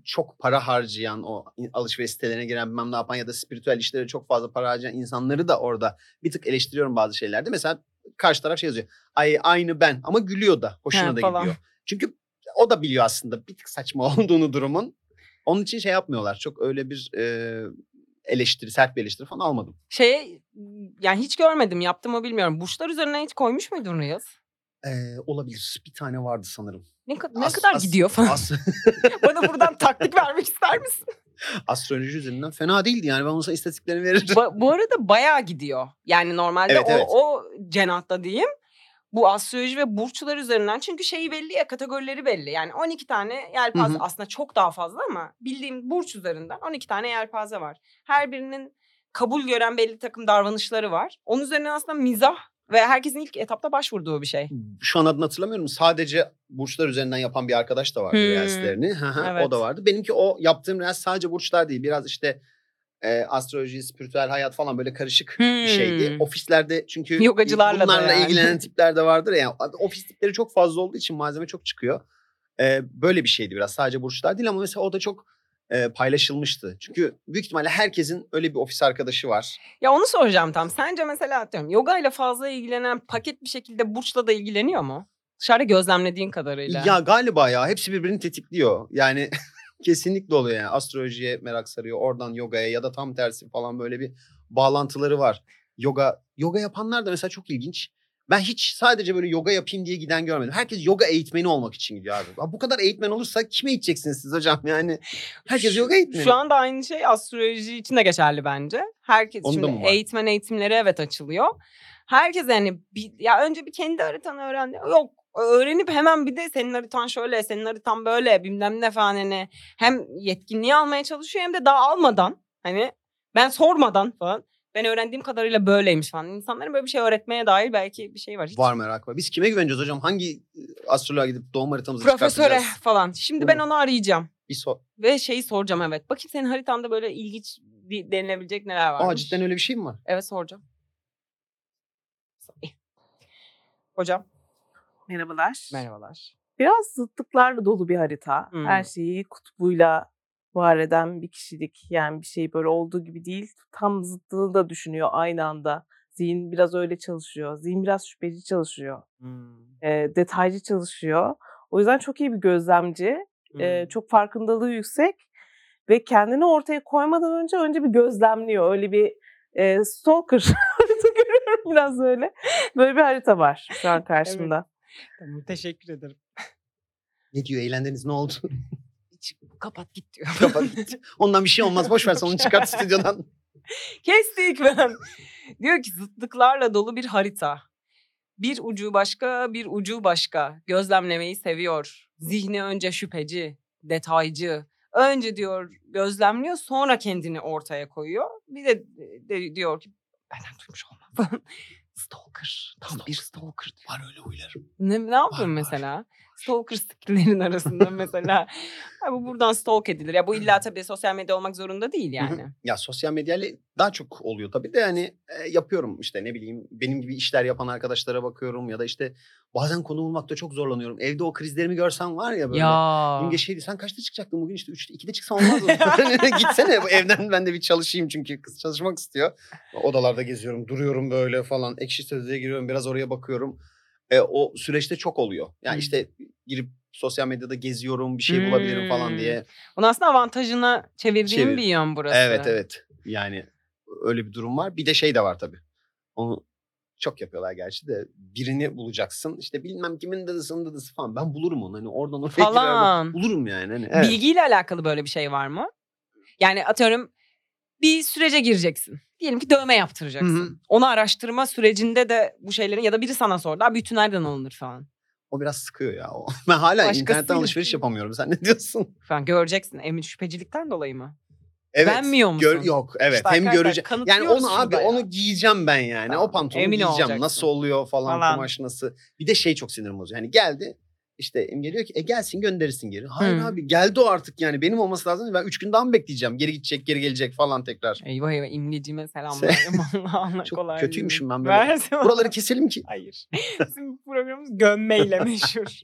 S3: çok para harcayan o in- alışveriş sitelerine giren bilmem ne yapan ya da spiritüel işlere çok fazla para harcayan insanları da orada bir tık eleştiriyorum bazı şeylerde. Mesela karşı taraf şey yazıyor. Ay aynı ben ama gülüyor da hoşuna
S2: He,
S3: da
S2: falan.
S3: gidiyor. Çünkü o da biliyor aslında bir tık saçma (laughs) olduğunu durumun. Onun için şey yapmıyorlar. Çok öyle bir e, eleştiri, sert bir eleştiri falan almadım.
S2: Şey yani hiç görmedim yaptım mı bilmiyorum. Burçlar üzerine hiç koymuş muydun Reels?
S3: E, olabilir. Bir tane vardı sanırım.
S2: Ne, ka- ne
S3: As-
S2: kadar
S3: as-
S2: gidiyor falan. (laughs)
S3: as- (laughs)
S2: Bana buradan taktik vermek ister misin?
S3: astroloji üzerinden fena değildi yani ben olsa istatistiklerini verirdim.
S2: Ba- bu arada bayağı gidiyor. Yani normalde
S3: Evet,
S2: o,
S3: evet.
S2: o cenahta diyeyim. Bu astroloji ve burçlar üzerinden çünkü şeyi belli ya kategorileri belli. Yani 12 tane yelpaze
S3: Hı hı.
S2: aslında çok daha fazla ama bildiğim burç üzerinden 12 tane yelpaze var. Her birinin kabul gören belli takım davranışları var. Onun üzerine aslında mizah ve herkesin ilk etapta başvurduğu bir şey.
S3: (laughs) Şu an adını hatırlamıyorum. Sadece burçlar üzerinden yapan bir arkadaş da vardı
S2: Hmm.
S3: reelslerini. Hı hı,
S2: Evet.
S3: O da vardı. Benimki o yaptığım reels sadece burçlar değil. Biraz işte e, astroloji, spiritüel hayat falan böyle karışık bir şeydi.
S2: Hmm.
S3: Ofislerde çünkü
S2: Yogacılarla da
S3: bunlarla
S2: yani. (laughs)
S3: ilgilenen tipler de vardır ya. Ofis tipleri çok fazla olduğu için malzeme çok çıkıyor. E, böyle bir şeydi biraz. Sadece burçlar değil ama mesela o da çok e, paylaşılmıştı. Çünkü büyük ihtimalle herkesin öyle bir ofis arkadaşı var.
S2: Ya onu soracağım tam. Sence mesela atıyorum yoga ile fazla ilgilenen paket bir şekilde burçla da ilgileniyor mu? Dışarıda gözlemlediğin kadarıyla.
S3: Ya galiba ya hepsi birbirini tetikliyor. Yani (laughs) kesinlikle oluyor yani. Astrolojiye merak sarıyor. Oradan yogaya ya da tam tersi falan böyle bir bağlantıları var. Yoga yoga yapanlar da mesela çok ilginç. Ben hiç sadece böyle yoga yapayım diye giden görmedim. Herkes yoga eğitmeni olmak için gidiyor abi. Ha, Bu kadar eğitmen olursa kime eğiteceksiniz siz hocam? (laughs) Yani herkes
S2: Şu-
S3: yoga eğitmeni.
S2: Şu anda aynı şey astroloji için de geçerli bence. Herkes
S3: Onda mı
S2: şimdi
S3: var?
S2: eğitmen eğitimleri evet açılıyor. Herkes yani bir, ya önce bir kendi haritanı öğrendi. Yok öğrenip hemen bir de senin haritan şöyle, senin haritan böyle bilmem ne falan hani hem yetkinliği almaya çalışıyor hem de daha almadan hani ben sormadan falan ben öğrendiğim kadarıyla böyleymiş falan. İnsanların böyle bir şey öğretmeye dair belki bir şey var. Hiç
S3: Var merak var. Biz kime güveneceğiz hocam? Hangi e, astroloğa gidip doğum haritamızı
S2: Profesöre
S3: çıkartacağız?
S2: falan. Şimdi ben
S3: Hı.
S2: onu arayacağım.
S3: Bir sor.
S2: Ve şeyi soracağım evet. Bakayım senin haritanda böyle ilginç di- denilebilecek neler var.
S3: Aa cidden öyle bir şey mi var?
S2: Evet soracağım. Sorry. Hocam.
S4: Merhabalar.
S2: Merhabalar.
S4: Biraz zıtlıklarla dolu bir harita.
S2: Hmm.
S4: Her şeyi kutbuyla var eden bir kişilik. Yani bir şey böyle olduğu gibi değil. Tam zıttını da düşünüyor aynı anda. Zihin biraz öyle çalışıyor. Zihin biraz şüpheci çalışıyor. e, detaycı çalışıyor. O yüzden çok iyi bir gözlemci. e, çok farkındalığı yüksek. Ve kendini ortaya koymadan önce önce bir gözlemliyor. Öyle bir e, stalker (laughs) harita görüyorum biraz öyle. Böyle bir harita var şu an karşımda.
S2: Tamam, teşekkür ederim.
S3: Ne diyor? Eğlendiniz ne oldu?
S2: Hiç- kapat git diyor.
S3: Kapat gitti. (laughs) Ondan bir şey olmaz. Boş ver sen onu (laughs) çıkart stüdyodan.
S2: Kestik ben. Diyor ki zıtlıklarla dolu bir harita. Bir ucu başka, bir ucu başka. Gözlemlemeyi seviyor. Zihni önce şüpheci, detaycı. Önce diyor gözlemliyor, sonra kendini ortaya koyuyor. Bir de, de- diyor ki benden duymuş olma (laughs) falan. Stalker. Tam bir stalker.
S3: Var öyle huylarım.
S2: Ne, ne yapıyorsun mesela? Stalker skillerin arasında mesela. Ha, bu buradan stalk edilir. Ya bu illa tabii sosyal medya olmak zorunda değil
S3: Hı hı.
S2: yani.
S3: Ya sosyal medyayla daha çok oluyor tabii de yani e, yapıyorum işte ne bileyim benim gibi işler yapan arkadaşlara bakıyorum ya da işte bazen konu bulmakta çok zorlanıyorum. Evde o krizlerimi görsen var ya böyle.
S2: ya.
S3: Dün geçeydi sen kaçta çıkacaktın bugün işte 3'te 2'de çıksan
S2: (laughs)
S3: olmaz mı? (laughs) Hani, Gitsene bu evden ben de bir çalışayım çünkü kız çalışmak istiyor. Odalarda geziyorum duruyorum böyle falan ekşi sözlüğe giriyorum biraz oraya bakıyorum. E, o süreçte çok oluyor. Yani
S2: Hmm.
S3: işte girip sosyal medyada geziyorum bir şey bulabilirim falan
S2: Hmm.
S3: diye.
S2: Bunu aslında avantajına çevirdiğim
S3: Çevir.
S2: bir yön burası.
S3: Evet evet. Yani öyle bir durum var. Bir de şey de var tabii. Onu çok yapıyorlar gerçi de birini bulacaksın. İşte bilmem kimin dadısının dadısı falan. Ben bulurum onu. Hani oradan oraya (laughs) girer,
S2: Falan.
S3: Bulurum yani. Hani, evet.
S2: Bilgiyle alakalı böyle bir şey var mı? Yani atıyorum bir sürece gireceksin. Diyelim ki dövme yaptıracaksın.
S3: Hı hı.
S2: Onu araştırma sürecinde de bu şeylerin ya da biri sana sordu. Abi bütün nereden alınır falan.
S3: O biraz sıkıyor ya. O. (laughs) Ben hala internetten
S2: Başkasıyla.
S3: alışveriş yapamıyorum. Sen ne diyorsun?
S2: Falan göreceksin. Emin şüphecilikten dolayı mı?
S3: Evet.
S2: Beğenmiyor musun?
S3: yok evet.
S2: İşte
S3: Hem
S2: arkadaşlar,
S3: görece Yani
S2: kanıtlıyoruz
S3: onu abi
S2: şurada ya.
S3: onu giyeceğim ben yani.
S2: Tamam,
S3: O pantolonu
S2: emin
S3: giyeceğim.
S2: olacaksın.
S3: Nasıl oluyor falan,
S2: Falan.
S3: kumaş nasıl. Bir de şey çok sinirim bozuyor. Yani geldi işte Emge diyor ki e gelsin gönderirsin geri. Hayır
S2: Hı.
S3: abi geldi o artık yani benim olması lazım. Ben üç gün daha mı bekleyeceğim? Geri gidecek geri gelecek falan tekrar.
S2: Eyvah eyvah imgecime (laughs) selamlarım. Allah'ına
S3: Çok
S2: kolay
S3: kötüymüşüm
S2: gelsin.
S3: ben böyle.
S2: Versin bana.
S3: Buraları keselim ki.
S2: Hayır. Bizim programımız
S3: (laughs)
S2: gömmeyle meşhur. (laughs)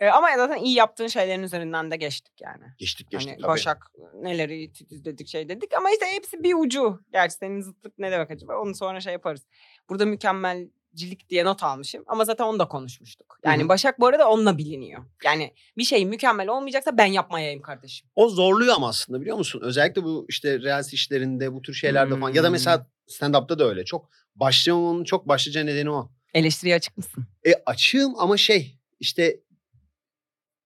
S2: E, ama zaten iyi yaptığın şeylerin üzerinden de geçtik yani.
S3: Geçtik geçtik
S2: hani
S3: tabii.
S2: Başak neleri titiz dedik şey dedik ama işte hepsi bir ucu. Gerçi senin zıtlık ne demek acaba onu sonra şey yaparız. Burada mükemmelcilik diye not almışım ama zaten onu da konuşmuştuk. Yani
S3: Hı hı.
S2: Başak bu arada onunla biliniyor. Yani bir şey mükemmel olmayacaksa ben yapmayayım kardeşim.
S3: O zorluyor ama aslında biliyor musun? Özellikle bu işte reels işlerinde bu tür şeylerde falan. Ya da
S2: Hmm.
S3: mesela stand-up'ta da öyle. Çok başlamanın çok başlıca nedeni o.
S2: Eleştiriye açık mısın?
S3: E açığım ama şey işte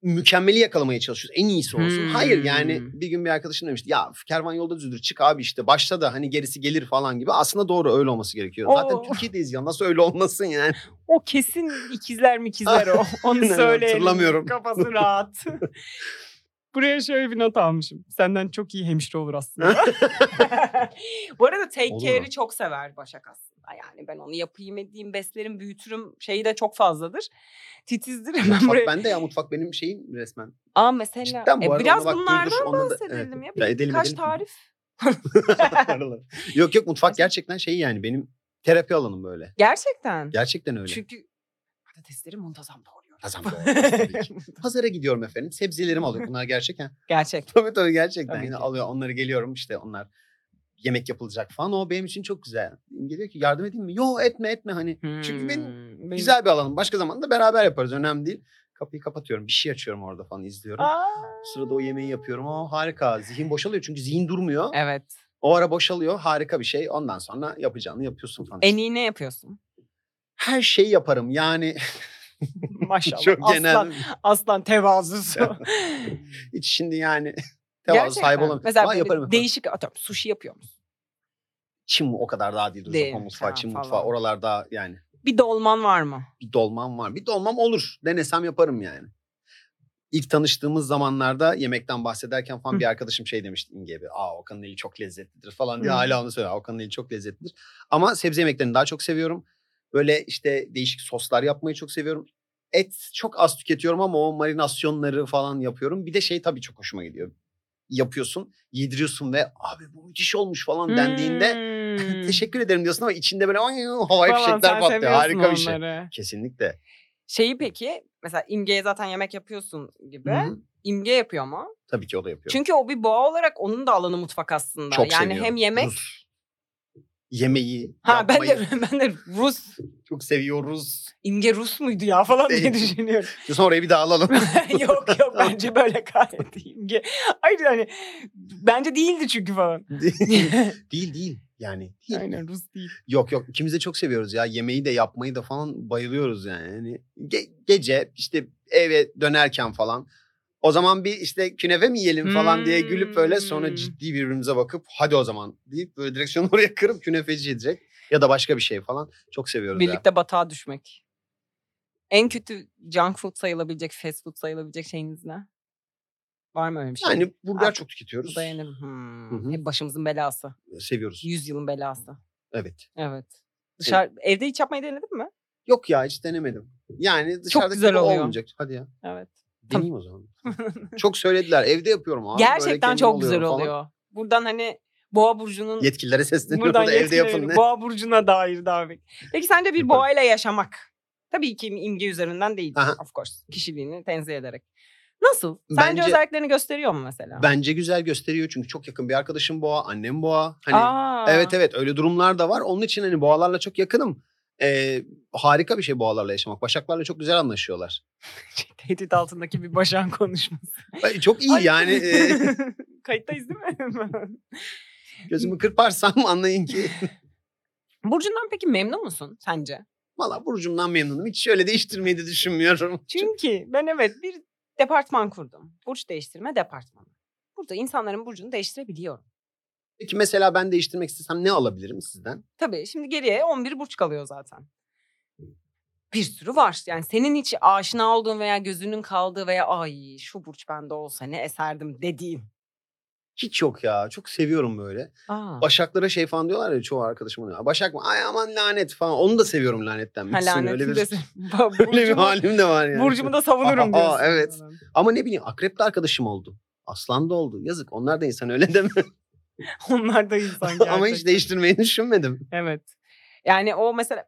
S3: mükemmeli yakalamaya çalışıyoruz. En iyisi olsun.
S2: Hmm.
S3: Hayır yani bir gün bir arkadaşım demişti ya kervan yolda düzülür çık abi işte başta da hani gerisi gelir falan gibi. Aslında doğru öyle olması gerekiyor. Zaten
S2: Oo.
S3: Türkiye'deyiz ya nasıl öyle
S2: (laughs)
S3: olmasın yani.
S2: O kesin ikizler mi ikizler (laughs) o. Onu
S3: Aynen,
S2: söyleyelim. (laughs)
S3: hatırlamıyorum.
S2: Kafası rahat. Buraya şöyle bir not almışım. Senden çok iyi hemşire olur aslında. Bu arada take
S3: Olur
S2: care'i
S3: mu?
S2: çok sever Başak aslında. Yani ben onu yapayım edeyim, beslerim, büyütürüm şeyi de çok fazladır. Titizdir. (laughs) Ben
S3: mutfak
S2: buraya...
S3: bende ya mutfak benim şeyim resmen. (laughs)
S2: Aa mesela.
S3: Cidden bu
S2: E,
S3: arada
S2: biraz
S3: ona bak,
S2: bunlardan
S3: dur, dur, ona da-
S2: bahsedelim
S3: evet,
S2: ya. Bir,
S3: edelim,
S2: birkaç
S3: edelim.
S2: tarif.
S3: Aralar. yok yok mutfak gerçekten şey yani benim terapi alanım böyle.
S2: Gerçekten.
S3: Gerçekten öyle.
S2: Çünkü patatesleri muntazam doğruyorum.
S3: Kazan doğrayacağız tabii ki. Pazara gidiyorum efendim. Sebzelerimi alıyorum. Bunlar gerçek ha.
S2: (laughs)
S3: (laughs)
S2: Gerçek.
S3: Tabii tabii gerçekten.
S2: Tabii
S3: Yine
S2: ki.
S3: alıyor onları geliyorum işte onlar yemek yapılacak falan. O benim için çok güzel. Geliyor ki yardım edeyim mi? Yo etme etme hani. Çünkü benim
S2: Hmm. benim
S3: güzel bir alanım. Başka zaman da beraber yaparız. Önemli değil. Kapıyı kapatıyorum. Bir şey açıyorum orada falan izliyorum.
S2: Aa.
S3: Sırada o yemeği yapıyorum. O harika. Zihin boşalıyor çünkü zihin durmuyor.
S2: Evet.
S3: O ara boşalıyor. Harika bir şey. Ondan sonra yapacağını yapıyorsun falan.
S2: En iyi ne yapıyorsun?
S3: Her şeyi yaparım. Yani
S2: Maşallah.
S3: (laughs) çok genel.
S2: aslan tevazusu.
S3: (laughs) Hiç şimdi yani (laughs) tevazu
S2: Gerçekten.
S3: sahibi olamıyorum.
S2: Mesela
S3: Ama
S2: böyle
S3: yaparım, yaparım.
S2: değişik atıyorum sushi yapıyor musun?
S3: Çin o kadar daha değildir.
S2: Değil,
S3: Japon mutfağı,
S2: ha,
S3: Çin
S2: falan.
S3: mutfağı oralarda yani.
S2: Bir dolman var mı?
S3: Bir dolmam var. Bir dolmam olur. Denesem yaparım yani. İlk tanıştığımız zamanlarda yemekten bahsederken falan
S2: Hı.
S3: bir arkadaşım şey demişti İnge abi. Aa Okan'ın eli çok lezzetlidir falan diye
S2: Hı.
S3: hala onu söylüyor. Okan'ın eli çok lezzetlidir. Ama sebze yemeklerini daha çok seviyorum. Böyle işte değişik soslar yapmayı çok seviyorum. Et çok az tüketiyorum ama o marinasyonları falan yapıyorum. Bir de şey tabii çok hoşuma gidiyor. Yapıyorsun, yediriyorsun ve abi bu müthiş olmuş falan dendiğinde
S2: Hmm.
S3: teşekkür ederim diyorsun ama içinde böyle "Ay, havai
S2: Falan,
S3: fişekler
S2: sen
S3: patlıyor.
S2: seviyorsun
S3: Harika bir şey.
S2: onları.
S3: Kesinlikle.
S2: Şeyi peki mesela imgeye zaten yemek yapıyorsun gibi.
S3: Hı hı.
S2: İmge yapıyor mu?
S3: Tabii ki o da yapıyor.
S2: Çünkü o bir boğa olarak onun da alanı mutfak aslında.
S3: Çok
S2: yani
S3: seviyorum.
S2: hem yemek.
S3: Rus. Yemeği
S2: Ha ben
S3: yapmayı
S2: de (laughs) ben de Rus.
S3: çok seviyoruz.
S2: İmge Rus muydu ya falan diye
S3: Değil.
S2: düşünüyorum.
S3: (laughs)
S2: (laughs)
S3: Diyorsun oraya bir daha alalım.
S2: yok yok bence böyle gayet imge. Hayır yani bence değildi çünkü falan.
S3: değil değil yani.
S2: (laughs)
S3: Değil.
S2: Aynen Rus değil.
S3: Yok yok ikimiz de çok seviyoruz ya. Yemeği de yapmayı da falan bayılıyoruz yani. yani ge- gece işte eve dönerken falan. O zaman bir işte künefe mi yiyelim falan diye gülüp böyle sonra
S2: Hmm.
S3: ciddi birbirimize bakıp hadi o zaman deyip böyle direksiyonu (laughs) oraya kırıp künefeci yiyecek. Ya da başka bir şey falan. Çok seviyoruz ya.
S2: Birlikte batağa düşmek. En kötü junk food sayılabilecek, fast food sayılabilecek şeyiniz ne? Var mı öyle bir şey?
S3: Yani burger
S2: Artık
S3: çok tüketiyoruz.
S2: Dayanırım. Hmm.
S3: Hı hı.
S2: Hep başımızın belası.
S3: Seviyoruz.
S2: Yüzyılın belası.
S3: Evet.
S2: Evet. Dışarı, Evde hiç yapmayı denedin mi?
S3: Yok ya hiç denemedim. Yani dışarıdaki
S2: güzel
S3: gibi
S2: oluyor.
S3: olmayacak. Hadi ya.
S2: Evet.
S3: Deneyeyim o zaman. çok söylediler. Evde yapıyorum abi. böyle
S2: Gerçekten
S3: kendim
S2: çok güzel
S3: alıyorum falan.
S2: oluyor. Buradan hani Boğa
S3: (laughs)
S2: Burcu'nun...
S3: Yetkililere sesleniyorum
S2: Buradan
S3: da evde yapın.
S2: yetkililerin
S3: Ne?
S2: Boğa burcuna dair davet. Peki sence bir
S3: Yaparım.
S2: boğayla yaşamak? Tabii ki imge üzerinden değil
S3: Aha.
S2: of course. Kişiliğini tenzih ederek. Nasıl? Sence
S3: Bence-
S2: özelliklerini gösteriyor mu mesela?
S3: Bence güzel gösteriyor çünkü çok yakın bir arkadaşım boğa, annem boğa. Hani
S2: Aa,
S3: evet evet öyle durumlar da var. Onun için hani boğalarla çok yakınım. Ee, harika bir şey boğalarla yaşamak. Başaklarla çok güzel anlaşıyorlar.
S2: Tehdit altındaki bir başan (laughs) konuşması.
S3: Ay, Çok iyi
S2: Ay.
S3: yani. e,
S2: (laughs) Kayıttayız değil
S3: (laughs)
S2: mi?
S3: gözümü kırparsam (laughs) anlayın ki.
S2: Burcundan peki memnun musun sence?
S3: Valla burcumdan memnunum. Hiç şöyle değiştirmeyi de düşünmüyorum.
S2: Çünkü ben evet bir departman kurdum. Burç değiştirme departmanı. Burada insanların burcunu değiştirebiliyorum.
S3: Peki mesela ben değiştirmek istesem ne alabilirim sizden?
S2: Tabii şimdi geriye 11 burç kalıyor zaten. Bir sürü var. Yani senin hiç aşina olduğun veya gözünün kaldığı veya ay şu burç bende olsa ne eserdim dediğin.
S3: Hiç yok ya. Çok seviyorum böyle.
S2: Aa.
S3: Başaklara şey falan diyorlar ya çoğu arkadaşım oluyor. Başak mı? Ay aman lanet falan. Onu da seviyorum lanetten.
S2: ha,
S3: İkisini
S2: lanet
S3: (laughs) öyle bir,
S2: desin.
S3: öyle
S2: Burcumu-
S3: bir halim de var yani.
S2: Burcumu da savunurum
S3: Aa,
S2: diyorsun.
S3: evet. Ama ne bileyim akrep de arkadaşım oldu. Aslan da oldu. Yazık onlar da insan öyle deme.
S2: (laughs) Onlar da insan gerçekten.
S3: (laughs) Ama hiç değiştirmeyi düşünmedim.
S2: Evet. Yani o mesela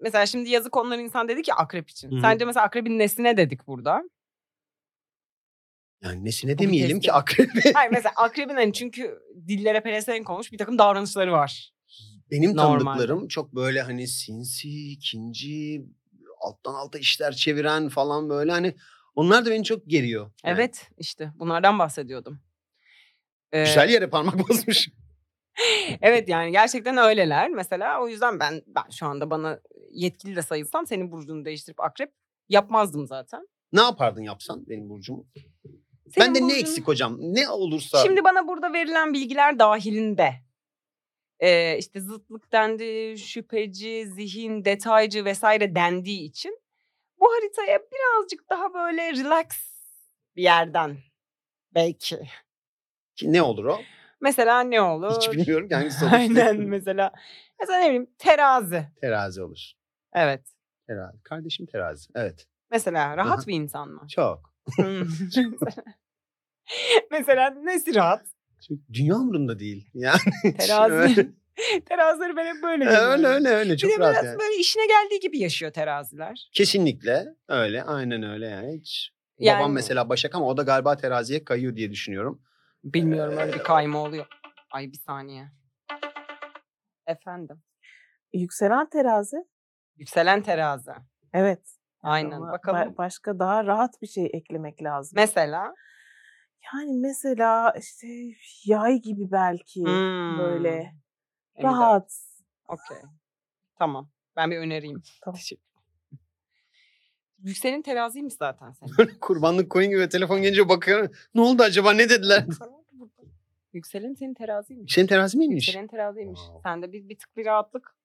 S2: mesela şimdi yazık onlar insan dedi ki akrep için.
S3: Hı hı.
S2: Sence mesela akrebin nesine dedik
S3: (laughs)
S2: burada?
S3: Yani nesine
S2: Bu bir
S3: demeyelim
S2: test
S3: ki akrebi.
S2: Hayır mesela akrebin hani çünkü dillere pelesenk olmuş bir takım davranışları var.
S3: (laughs) Benim
S2: Normal.
S3: tanıdıklarım çok böyle hani sinsi, ikinci, alttan alta işler çeviren falan böyle hani onlar da beni çok geriyor. Yani
S2: Evet işte bunlardan bahsediyordum. Ee,
S3: Güzel yere parmak (laughs) basmış.
S2: Evet yani gerçekten öyleler. Mesela o yüzden ben ben şu anda bana yetkili de sayılsam senin burcunu değiştirip akrep yapmazdım zaten.
S3: Ne yapardın yapsan benim burcumu?
S2: Senin
S3: ben de ne
S2: burcun-
S3: eksik hocam? Ne olursa.
S2: Şimdi bana burada verilen bilgiler dahilinde e, işte zıtlık dendi, şüpheci, zihin, detaycı vesaire dendiği için bu haritaya birazcık daha böyle relax bir yerden belki.
S3: Ki ne olur o?
S2: Mesela ne olur?
S3: Hiç bilmiyorum
S2: (laughs)
S3: ki hangisi olur.
S2: Aynen mesela. Mesela ne bileyim terazi.
S3: Terazi olur.
S2: Evet.
S3: Terazi. Kardeşim terazi. Evet.
S2: Mesela rahat
S3: Aha.
S2: bir insan
S3: (laughs)
S2: mı?
S3: Çok.
S2: Hmm. (laughs) mesela nesi rahat?
S3: Çünkü dünya umurunda değil. Yani (laughs) hiç öyle-
S2: Terazi. (laughs) Terazileri ben hep böyle görüyorum.
S3: öyle öyle öyle çok
S2: bir de
S3: rahat
S2: biraz
S3: yani.
S2: böyle işine geldiği gibi yaşıyor teraziler.
S3: Kesinlikle öyle aynen öyle yani hiç. Babam
S2: Yani-
S3: mesela Başak ama o da galiba teraziye kayıyor diye düşünüyorum.
S2: Bilmiyorum öyle bir kayma oluyor. Ay bir saniye. Efendim.
S4: Yükselen terazi.
S2: Yükselen terazi.
S4: Evet.
S2: Aynen.
S4: Ama ba-
S2: Bakalım.
S4: başka daha rahat bir şey eklemek lazım.
S2: Mesela.
S4: yani mesela işte yay gibi belki
S2: Hmm.
S4: böyle
S2: Emine.
S4: rahat. (laughs)
S2: Okey. Tamam. Ben bir önereyim.
S4: Tamam.
S2: (laughs) Teşekkür Yükselin teraziymiş zaten senin.
S3: Kurbanlık koyun gibi telefon gelince bakıyorum. Ne oldu acaba ne dediler?
S2: Yükselen senin teraziymiş.
S3: Senin terazi miymiş?
S2: Yükselen teraziymiş.
S3: Wow.
S2: Sende bir, bir tık bir rahatlık.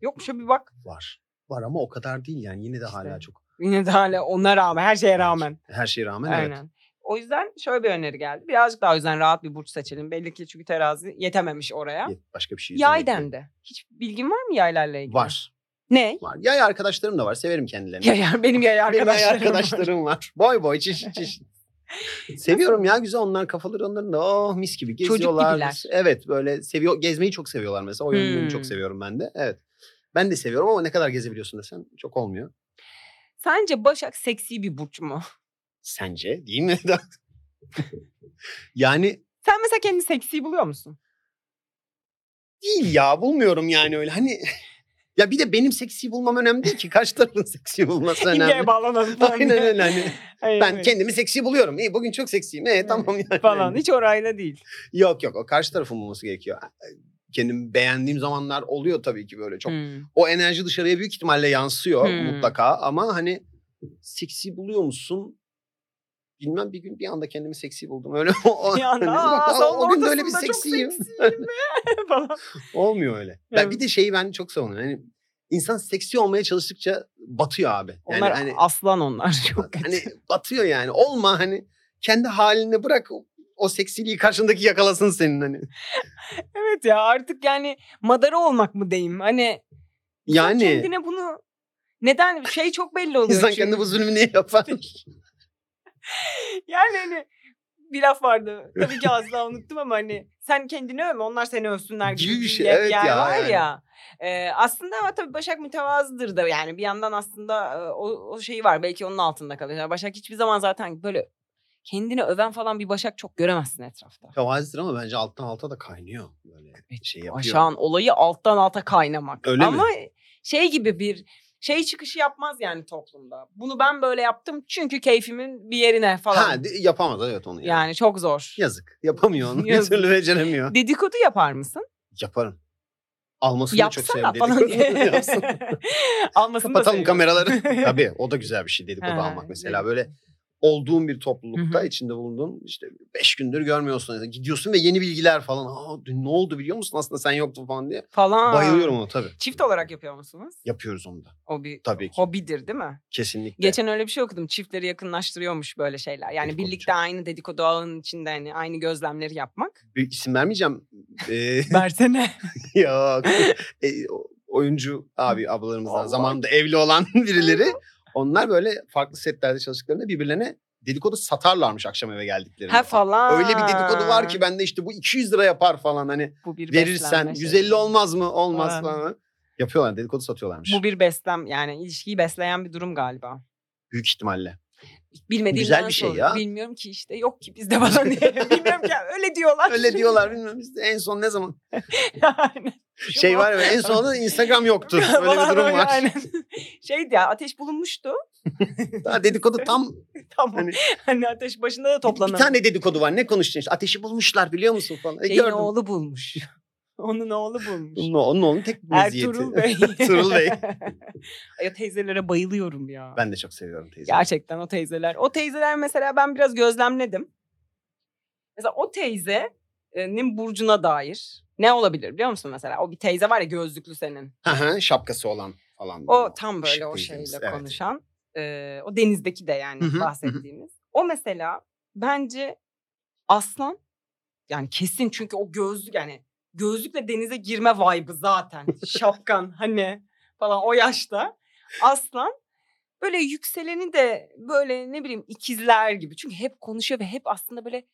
S2: Yokmuş ya bir bak.
S3: Var. Var ama o kadar değil yani yine de hala
S2: İşte.
S3: çok.
S2: Yine de hala ona rağmen, her şeye rağmen.
S3: Her şeye rağmen
S2: Aynen.
S3: evet.
S2: O yüzden şöyle bir öneri geldi. Birazcık daha o yüzden rahat bir burç seçelim. Belli ki çünkü terazi yetememiş oraya.
S3: Ye- Başka bir şey.
S2: Yay
S3: izlemek yok.
S2: dendi. Hiç bilgin var mı yaylarla ilgili?
S3: Var.
S2: Ne?
S3: Var. Yay arkadaşlarım da var. Severim
S2: (laughs)
S3: kendilerini.
S2: Yay, benim yay
S3: Benim yay
S2: arkadaşlarım. var.
S3: arkadaşlarım var. Boy boy
S2: (laughs)
S3: çeşit çeşit. Seviyorum ya güzel onlar kafaları onların da oh mis gibi
S2: Çocuk
S3: geziyorlar.
S2: gibiler.
S3: Evet böyle seviyor gezmeyi çok seviyorlar mesela. O yönünü
S2: Hmm.
S3: çok seviyorum ben de. Evet. Ben de seviyorum ama ne kadar gezebiliyorsun desen çok olmuyor.
S2: Sence Başak seksi bir burç mu?
S3: Sence değil mi? (laughs) yani
S2: Sen mesela kendini seksi buluyor musun?
S3: değil ya bulmuyorum yani öyle hani (laughs) ya bir de benim seksi bulmam önemli değil ki kaç tarafın
S2: (laughs)
S3: seksi bulması önemli.
S2: İmgeye bağlanalım falan.
S3: (laughs) Aynen
S2: diye.
S3: öyle hani
S2: (laughs) Ay,
S3: ben
S2: evet.
S3: kendimi seksi buluyorum. İyi bugün çok seksiyim. E, tamam yani.
S2: falan. Hiç orayla değil.
S3: Yok yok o karşı tarafın bulması gerekiyor. Kendimi beğendiğim zamanlar oluyor tabii ki böyle çok.
S2: Hmm.
S3: O enerji dışarıya büyük ihtimalle yansıyor
S2: Hmm.
S3: mutlaka ama hani seksi buluyor musun? Bilmem bir gün bir anda kendimi seksi buldum. Öyle (laughs) o, o-
S2: Bir anda,
S3: (laughs) hani
S2: "Aa,
S3: bak,
S2: salonun
S3: o gün de öyle bir
S2: ortasında çok
S3: seksiyim.
S2: seksiyim (laughs) falan.
S3: (laughs) Olmuyor öyle. Ben
S2: Evet.
S3: bir de şeyi ben çok savunuyorum. Hani insan seksi olmaya çalıştıkça batıyor abi. Yani
S2: onlar
S3: hani,
S2: aslan onlar. (laughs) Çok kötü.
S3: hani batıyor yani. Olma hani kendi haline bırak o, o seksiliği karşındaki yakalasın senin hani.
S2: Evet ya artık yani madara olmak mı diyeyim? Hani sen
S3: Yani
S2: kendine bunu neden şey çok belli oluyor.
S3: İnsan
S2: çünkü.
S3: kendi bu zulmü niye
S2: (laughs)
S3: yapar?
S2: Yani hani bir laf vardı. Tabii ki az daha unuttum ama hani sen kendini övme onlar seni övsünler gibi, bir şey. Evet ya, var
S3: yani.
S2: ya. Ee, aslında ama tabii Başak mütevazıdır da yani bir yandan aslında e, o, o şeyi var. Belki onun altında kalıyor. Yani Başak hiçbir zaman zaten böyle kendini öven falan bir Başak çok göremezsin etrafta.
S3: Tevazıdır ama bence alttan alta da kaynıyor. Böyle şey yapıyor.
S2: Başak'ın olayı alttan alta kaynamak.
S3: Öyle mi?
S2: ama şey gibi bir şey çıkışı yapmaz yani toplumda. Bunu ben böyle yaptım çünkü keyfimin bir yerine falan.
S3: Ha, de- yapamaz evet onu yani.
S2: yani çok zor.
S3: Yazık. Yapamıyor
S2: (laughs)
S3: onu. Bir
S2: Yazık.
S3: türlü beceremiyor.
S2: Dedikodu yapar mısın?
S3: Yaparım. Almasını da çok
S2: Yapsana
S3: severim
S2: falan (laughs)
S3: dedikodu.
S2: diye.
S3: (laughs) Yapsın.
S2: Almasını da
S3: Kapatalım
S2: seviyorum.
S3: kameraları.
S2: (laughs)
S3: Tabii o da güzel bir şey dedikodu
S2: Ha,
S3: almak mesela.
S2: evet.
S3: Böyle olduğun bir toplulukta
S2: Hı hı.
S3: içinde bulunduğun işte beş gündür görmüyorsun. Gidiyorsun ve yeni bilgiler falan. Aa, dün ne oldu biliyor musun? Aslında sen yoktun falan diye.
S2: Falan.
S3: Bayılıyorum ona tabii.
S2: Çift olarak yapıyor musunuz?
S3: Yapıyoruz onu da.
S2: O bir
S3: Tabii ki.
S2: hobidir değil mi?
S3: Kesinlikle.
S2: Geçen öyle bir şey okudum. Çiftleri yakınlaştırıyormuş böyle şeyler. Yani
S3: Dedikodu
S2: birlikte aynı dedikodu ağının içinde hani aynı gözlemleri yapmak.
S3: Bir isim vermeyeceğim. Ee,
S2: Versene.
S3: (laughs) Yok. E, o- oyuncu abi ablalarımızdan
S2: Allah.
S3: zamanında evli olan (laughs) birileri onlar böyle farklı setlerde çalıştıklarında birbirlerine dedikodu satarlarmış akşam eve geldiklerinde.
S2: ha falan.
S3: Öyle bir dedikodu var ki bende işte bu 200 lira yapar falan hani
S2: bu bir
S3: verirsen
S2: beslenme
S3: 150
S2: şeyi.
S3: olmaz mı? Olmaz
S2: Falan.
S3: falan. Yapıyorlar dedikodu satıyorlarmış.
S2: Bu bir beslem yani ilişkiyi besleyen bir durum galiba.
S3: Büyük ihtimalle.
S2: Bilmediğimden
S3: Güzel bir şey
S2: sordum.
S3: ya.
S2: Bilmiyorum ki işte yok ki bizde falan
S3: (laughs)
S2: diye. Bilmiyorum ki öyle diyorlar.
S3: Öyle diyorlar bilmem işte en son ne zaman?
S2: Aynen.
S3: Şey var ya en sonunda
S2: (laughs)
S3: Instagram yoktu. Öyle bir
S2: Falan
S3: durum
S2: öyle,
S3: var.
S2: aynen. (laughs) Şeydi ya ateş bulunmuştu.
S3: Daha dedikodu tam
S2: Tamam.
S3: Hani-
S2: Hani, ateş başında da
S3: bir
S2: toplanalım.
S3: tane dedikodu var. Ne konuştun işte? Ateşi bulmuşlar biliyor musun falan. E,
S2: Şeyin
S3: gördüm.
S2: oğlu bulmuş. (laughs) Onun oğlu bulmuş.
S3: Onun, onun oğlunun tek meziyeti.
S2: Ertuğrul Bey.
S3: (laughs) Ertuğrul
S2: (laughs)
S3: Bey.
S2: ya teyzelere bayılıyorum ya.
S3: Ben de çok seviyorum teyzeyi.
S2: Gerçekten o teyzeler. O teyzeler mesela ben biraz gözlemledim. Mesela o teyzenin burcuna dair ne olabilir biliyor musun mesela? O bir teyze var ya gözlüklü senin.
S3: Hı hı, Şapkası olan falan.
S2: O tam böyle o
S3: Şık
S2: şeyle
S3: teyzemiz, evet.
S2: konuşan. e, o denizdeki de yani
S3: Hı hı, hı hı.
S2: bahsettiğimiz. O mesela bence aslan yani kesin çünkü o gözlük yani gözlükle denize girme vibe'ı zaten. Şapkan hani falan o yaşta. Aslan böyle yükseleni de böyle ne bileyim ikizler gibi. Çünkü hep konuşuyor ve hep aslında böyle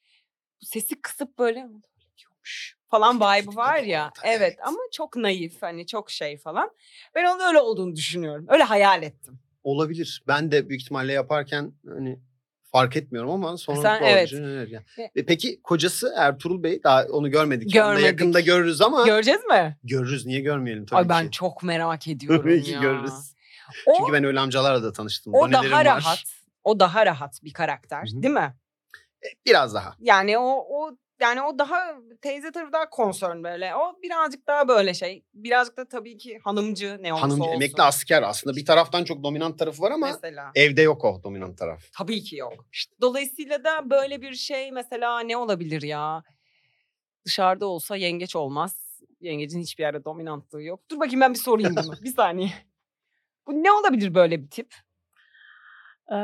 S2: sesi kısıp böyle diyormuş falan vibe'ı var ya.
S3: Orada,
S2: Evet
S3: evet.
S2: ama çok naif hani çok şey falan. Ben onun öyle olduğunu düşünüyorum. Öyle hayal ettim.
S3: Olabilir. Ben de büyük ihtimalle yaparken hani fark etmiyorum ama sonra
S2: Sen-
S3: Sen,
S2: evet. Ve-
S3: Ve E, peki kocası Ertuğrul Bey daha onu görmedik. Onu da
S2: Görmedik.
S3: yakında görürüz ama
S2: Göreceğiz mi?
S3: görürüz. Niye görmeyelim tabii
S2: Ay ben
S3: ki.
S2: çok merak ediyorum
S3: (laughs) Tabii ki
S2: ya.
S3: görürüz.
S2: O,
S3: Çünkü ben öyle amcalarla da tanıştım.
S2: o
S3: Donelerim
S2: daha
S3: var.
S2: rahat. O daha rahat bir karakter,
S3: Hı hı.
S2: değil mi?
S3: E, Biraz daha.
S2: Yani o o yani o daha teyze tarafı daha concern böyle. O birazcık daha böyle şey. Birazcık da tabii ki hanımcı ne olursa
S3: Hanım
S2: olsun.
S3: emekli asker aslında bir taraftan çok dominant tarafı var ama e
S2: Mesela.
S3: evde yok o dominant taraf.
S2: Tabii ki yok. Dolayısıyla da böyle bir şey mesela ne olabilir ya? Dışarıda olsa yengeç olmaz. Yengecin hiçbir yerde dominantlığı yok. Dur bakayım ben bir sorayım bunu. bir saniye. Bu ne olabilir böyle bir tip?
S4: Ee,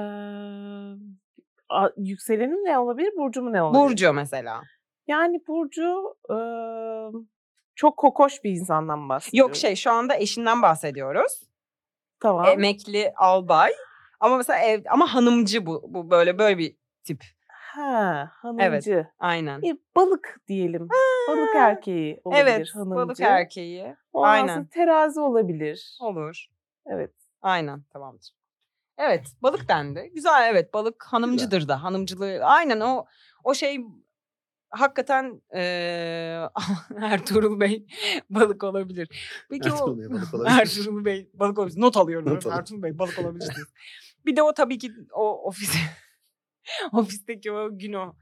S4: a- yükselenim ne olabilir, burcu mu ne olabilir?
S2: Burcu mesela.
S4: Yani Burcu e, çok kokoş bir insandan bahsediyorum.
S2: Yok şey e, şu anda eşinden bahsediyoruz.
S4: Tamam.
S2: Emekli albay. Ama mesela ev ama hanımcı bu. Bu böyle böyle bir tip.
S4: ha, hanımcı.
S2: Aynen.
S4: E, balık diyelim. Balık erkeği olabilir
S2: evet,
S4: hanımcı.
S2: balık erkeği.
S4: Ondan
S2: aynen.
S4: sonra terazi olabilir.
S2: Olur.
S4: Evet.
S2: Aynen tamamdır. Evet balık dendi. Güzel evet balık hanımcıdır da hanımcılığı. Aynen o o şey hakikaten eee (laughs) Ertuğrul Bey balık olabilir. Peki
S3: Ertuğrul
S2: o
S3: Bey
S2: (laughs)
S3: balık olabilir.
S2: Ertuğrul Bey balık olabilir. Not alıyorum.
S3: Not alın.
S2: Ertuğrul Bey balık olabilir. diye. bir de o tabii ki o ofis (laughs) ofisteki o gün o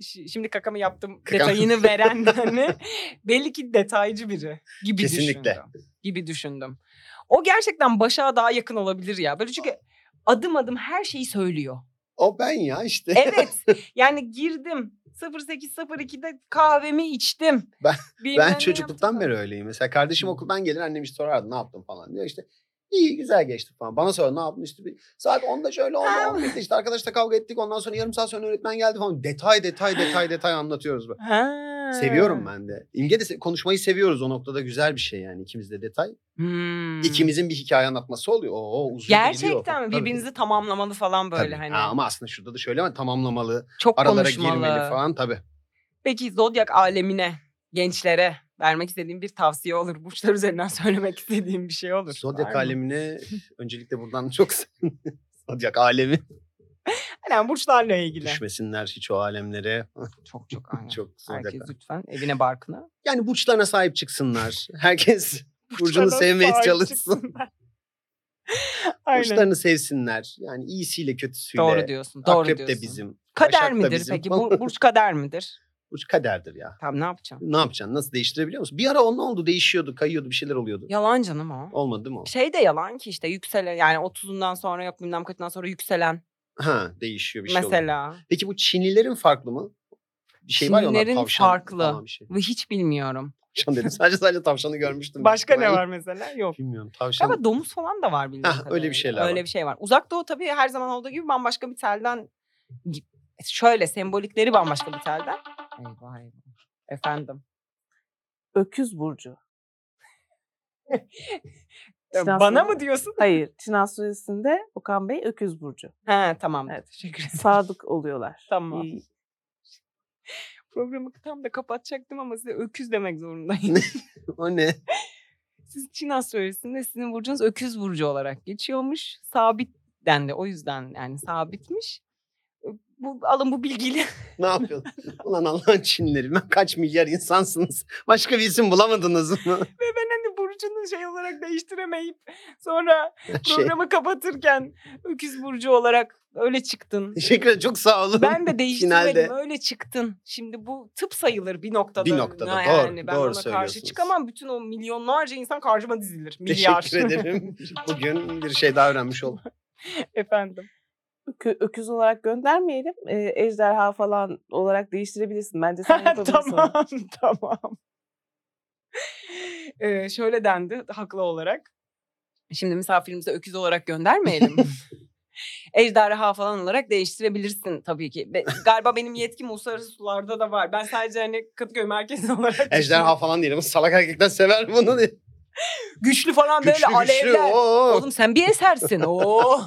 S2: şi- şimdi kakamı yaptım
S3: Kakam.
S2: detayını veren hani
S3: (laughs)
S2: belli ki detaycı biri gibi
S3: Kesinlikle.
S2: düşündüm. Gibi düşündüm. O gerçekten başa daha yakın olabilir ya. Böyle çünkü adım adım her şeyi
S3: (laughs)
S2: söylüyor.
S3: O ben ya işte.
S2: Evet. yani girdim 0802'de kahvemi içtim.
S3: Ben-
S2: Bilmem
S3: ben
S2: ne
S3: çocukluktan
S2: yaptım.
S3: beri öyleyim. Mesela kardeşim
S2: Hı.
S3: okuldan gelir annem işte sorardı ne yaptın falan diyor işte. iyi güzel geçti falan. Bana sorar ne yaptın işte. bir- Saat 10'da şöyle oldu.
S2: Ha.
S3: 11'de işte arkadaşla kavga ettik. Ondan sonra yarım saat sonra öğretmen geldi falan. Detay detay detay detay anlatıyoruz. Böyle.
S2: Ha.
S3: Seviyorum ben de. İmge de se- konuşmayı seviyoruz. O noktada güzel bir şey yani. İkimiz de detay.
S2: Hmm.
S3: İkimizin bir hikaye anlatması oluyor. Oo, uzun da gidiyor.
S2: Gerçekten mi?
S3: Tabii.
S2: Birbirinizi tamamlamalı falan böyle
S3: Tabii.
S2: hani.
S3: Ha, ama aslında şurada da şöyle ama tamamlamalı.
S2: Çok
S3: Aralara
S2: konuşmalı.
S3: girmeli falan tabii.
S2: Peki zodyak alemine, gençlere vermek istediğim bir tavsiye olur. (laughs) Burçlar üzerinden söylemek istediğim bir şey olur. Var
S3: Zodyak
S2: mı? (laughs)
S3: alemine öncelikle buradan çok sevdim. (laughs) Zodyak alemi
S2: Aynen burçlarla ilgili.
S3: düşmesinler hiç o alemlere.
S2: Çok çok aynen.
S3: Çok zodyak
S2: Herkes
S3: alemi.
S2: lütfen evine barkına.
S3: Yani burçlarına
S2: (laughs)
S3: sahip çıksınlar. Herkes burcunu sevmeye
S2: sahip
S3: çalışsın.
S2: çıksınlar. aynen.
S3: Burçlarını sevsinler. Yani iyisiyle kötüsüyle.
S2: Doğru diyorsun. Doğru
S3: Akrep
S2: diyorsun.
S3: de bizim.
S2: Kader
S3: Başak da
S2: midir
S3: bizim.
S2: peki? Bu-
S3: (laughs)
S2: Burç kader midir?
S3: Burç kaderdir ya.
S2: Tamam ne yapacağım?
S3: Ne yapacaksın? Nasıl değiştirebiliyor musun? Bir ara o ne oldu? Değişiyordu, kayıyordu, bir şeyler oluyordu.
S2: Yalan canım o.
S3: Olmadı değil mi o?
S2: Şey de yalan ki işte yükselen yani 30'undan sonra yok bilmem kaçından sonra yükselen
S3: Ha, değişiyor bir şey oluyor.
S2: mesela.
S3: Peki bu Çinlilerin farklı mı? Bir şey var ya onlar
S2: Çinlilerin
S3: tavşan
S2: farklı.
S3: falan bir şey.
S2: Ve hiç bilmiyorum.
S3: Tavşan dedim. Sadece sadece tavşanı görmüştüm.
S2: Başka ne
S3: Ben-
S2: var mesela? Yok.
S3: Bilmiyorum. Tavşan.
S2: Galiba domuz falan da var bildiğim
S3: Hah, öyle bir
S2: kadarıyla.
S3: şeyler
S2: Öyle
S3: var.
S2: bir şey var. Uzak Doğu tabii her zaman olduğu gibi bambaşka bir telden şöyle sembolikleri bambaşka bir telden. Eyvah eyvah. Efendim. (laughs)
S4: Öküz burcu.
S2: Ya
S4: Sinan
S2: Bana
S4: Sulu-
S2: mı diyorsun?
S4: Hayır. Çınar suresinde Okan Bey öküz burcu.
S2: He tamam.
S4: Evet.
S2: Teşekkür ederim.
S4: Sadık oluyorlar.
S2: Tamam.
S4: İyi.
S2: Programı tam da kapatacaktım ama size öküz demek
S3: (laughs)
S2: zorundayım.
S3: O ne?
S2: Siz Çin astrolojisinde sizin burcunuz öküz burcu olarak geçiyormuş. Sabit dendi. O yüzden yani sabitmiş. Bu, alın bu bilgiyle.
S3: Ne yapıyorsun? Ulan Allah'ın Çinlileri. Ben kaç milyar insansınız? Başka bir isim bulamadınız mı?
S2: (laughs) Ve ben hani burç burcunu şey olarak değiştiremeyip sonra
S3: (laughs) Şey
S2: programı kapatırken öküz burcu olarak öyle çıktın.
S3: Teşekkür ederim. Çok sağ olun. (laughs)
S2: Ben de değiştirmedim
S3: Finalde.
S2: öyle çıktın. Şimdi bu tıp sayılır bir noktada.
S3: Bir noktada,
S2: Ha,
S3: doğru,
S2: ben
S3: doğru
S2: ona karşı
S3: söylüyorsunuz.
S2: çıkamam. Bütün o milyonlarca insan karşıma dizilir. Milyar.
S3: Teşekkür ederim. Bugün bir şey daha öğrenmiş oldum.
S2: (laughs) Efendim.
S4: Ökü- öküz olarak göndermeyelim. Ee, ejderha falan olarak değiştirebilirsin.
S2: (laughs)
S4: Bence sen yapabilirsin.
S2: tamam (laughs) tamam. Ee, şöyle dendi haklı olarak. Şimdi misafirimize öküz olarak göndermeyelim.
S3: (laughs)
S2: (laughs) Ejderha falan olarak değiştirebilirsin tabii ki. Ve galiba benim yetkim uluslararası sularda da var. Ben sadece hani Kadıköy merkezi (laughs) olarak
S3: Ejderha falan diyelim. Salak erkekler sever bunu. diye.
S2: güçlü falan böyle
S3: Güçlü güçlü.
S2: alevler.
S3: oo.
S2: Oğlum sen bir
S3: (laughs)
S2: esersin. Oo.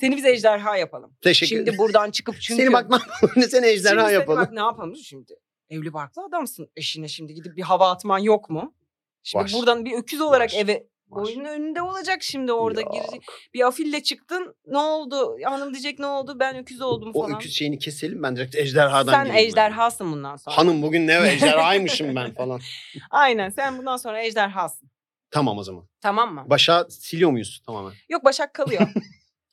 S2: Seni biz ejderha yapalım.
S3: Teşekkür
S2: Şimdi
S3: ederim.
S2: buradan çıkıp çünkü
S3: Seni bakmam. (laughs) ne sen
S2: Şimdi
S3: ejderha
S2: seni
S3: yapalım.
S2: Bak ne yapalım şimdi? Evli barklı adamsın. Eşine şimdi gidip bir hava atman yok mu? Şimdi
S3: Var.
S2: buradan bir öküz olarak
S3: Var.
S2: eve
S3: Var.
S2: Oyunun önünde olacak şimdi orada
S3: Yok.
S2: girecek. Bir afille çıktın. Ne oldu? Hanım diyecek ne oldu? Ben öküz oldum
S3: O
S2: falan.
S3: öküz şeyini keselim ben direkt ejderhadan
S2: Sen
S3: gireyim ben.
S2: ejderhasın bundan sonra.
S3: Hanım
S2: (laughs)
S3: bugün ne ejderhaymışım ben falan.
S2: Aynen sen bundan sonra ejderhasın.
S3: Tamam o zaman.
S2: Tamam mı?
S3: Başa siliyor muyuz tamamen?
S2: Yok Başak
S3: (laughs)
S2: kalıyor.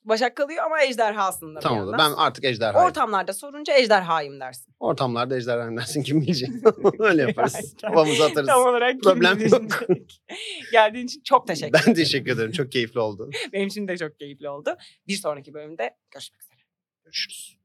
S2: Başak kalıyor ama ejderhasın da bir
S3: tamam o da. Ben
S2: yandan.
S3: artık ejderha.
S2: Ortamlarda sorunca ejderhayım dersin.
S3: Ortamlarda ejderha dersin
S2: (laughs)
S3: kim bilecek. Öyle yaparız.
S2: Aynen.
S3: Kafamızı atarız.
S2: Tam olarak kim
S3: Problem
S2: bilir
S3: yok.
S2: şimdi? Geldiğin için çok teşekkür
S3: Ben teşekkür ederim. Çok keyifli oldu.
S2: Benim için de çok keyifli oldu. Bir sonraki bölümde görüşmek üzere.
S3: Görüşürüz.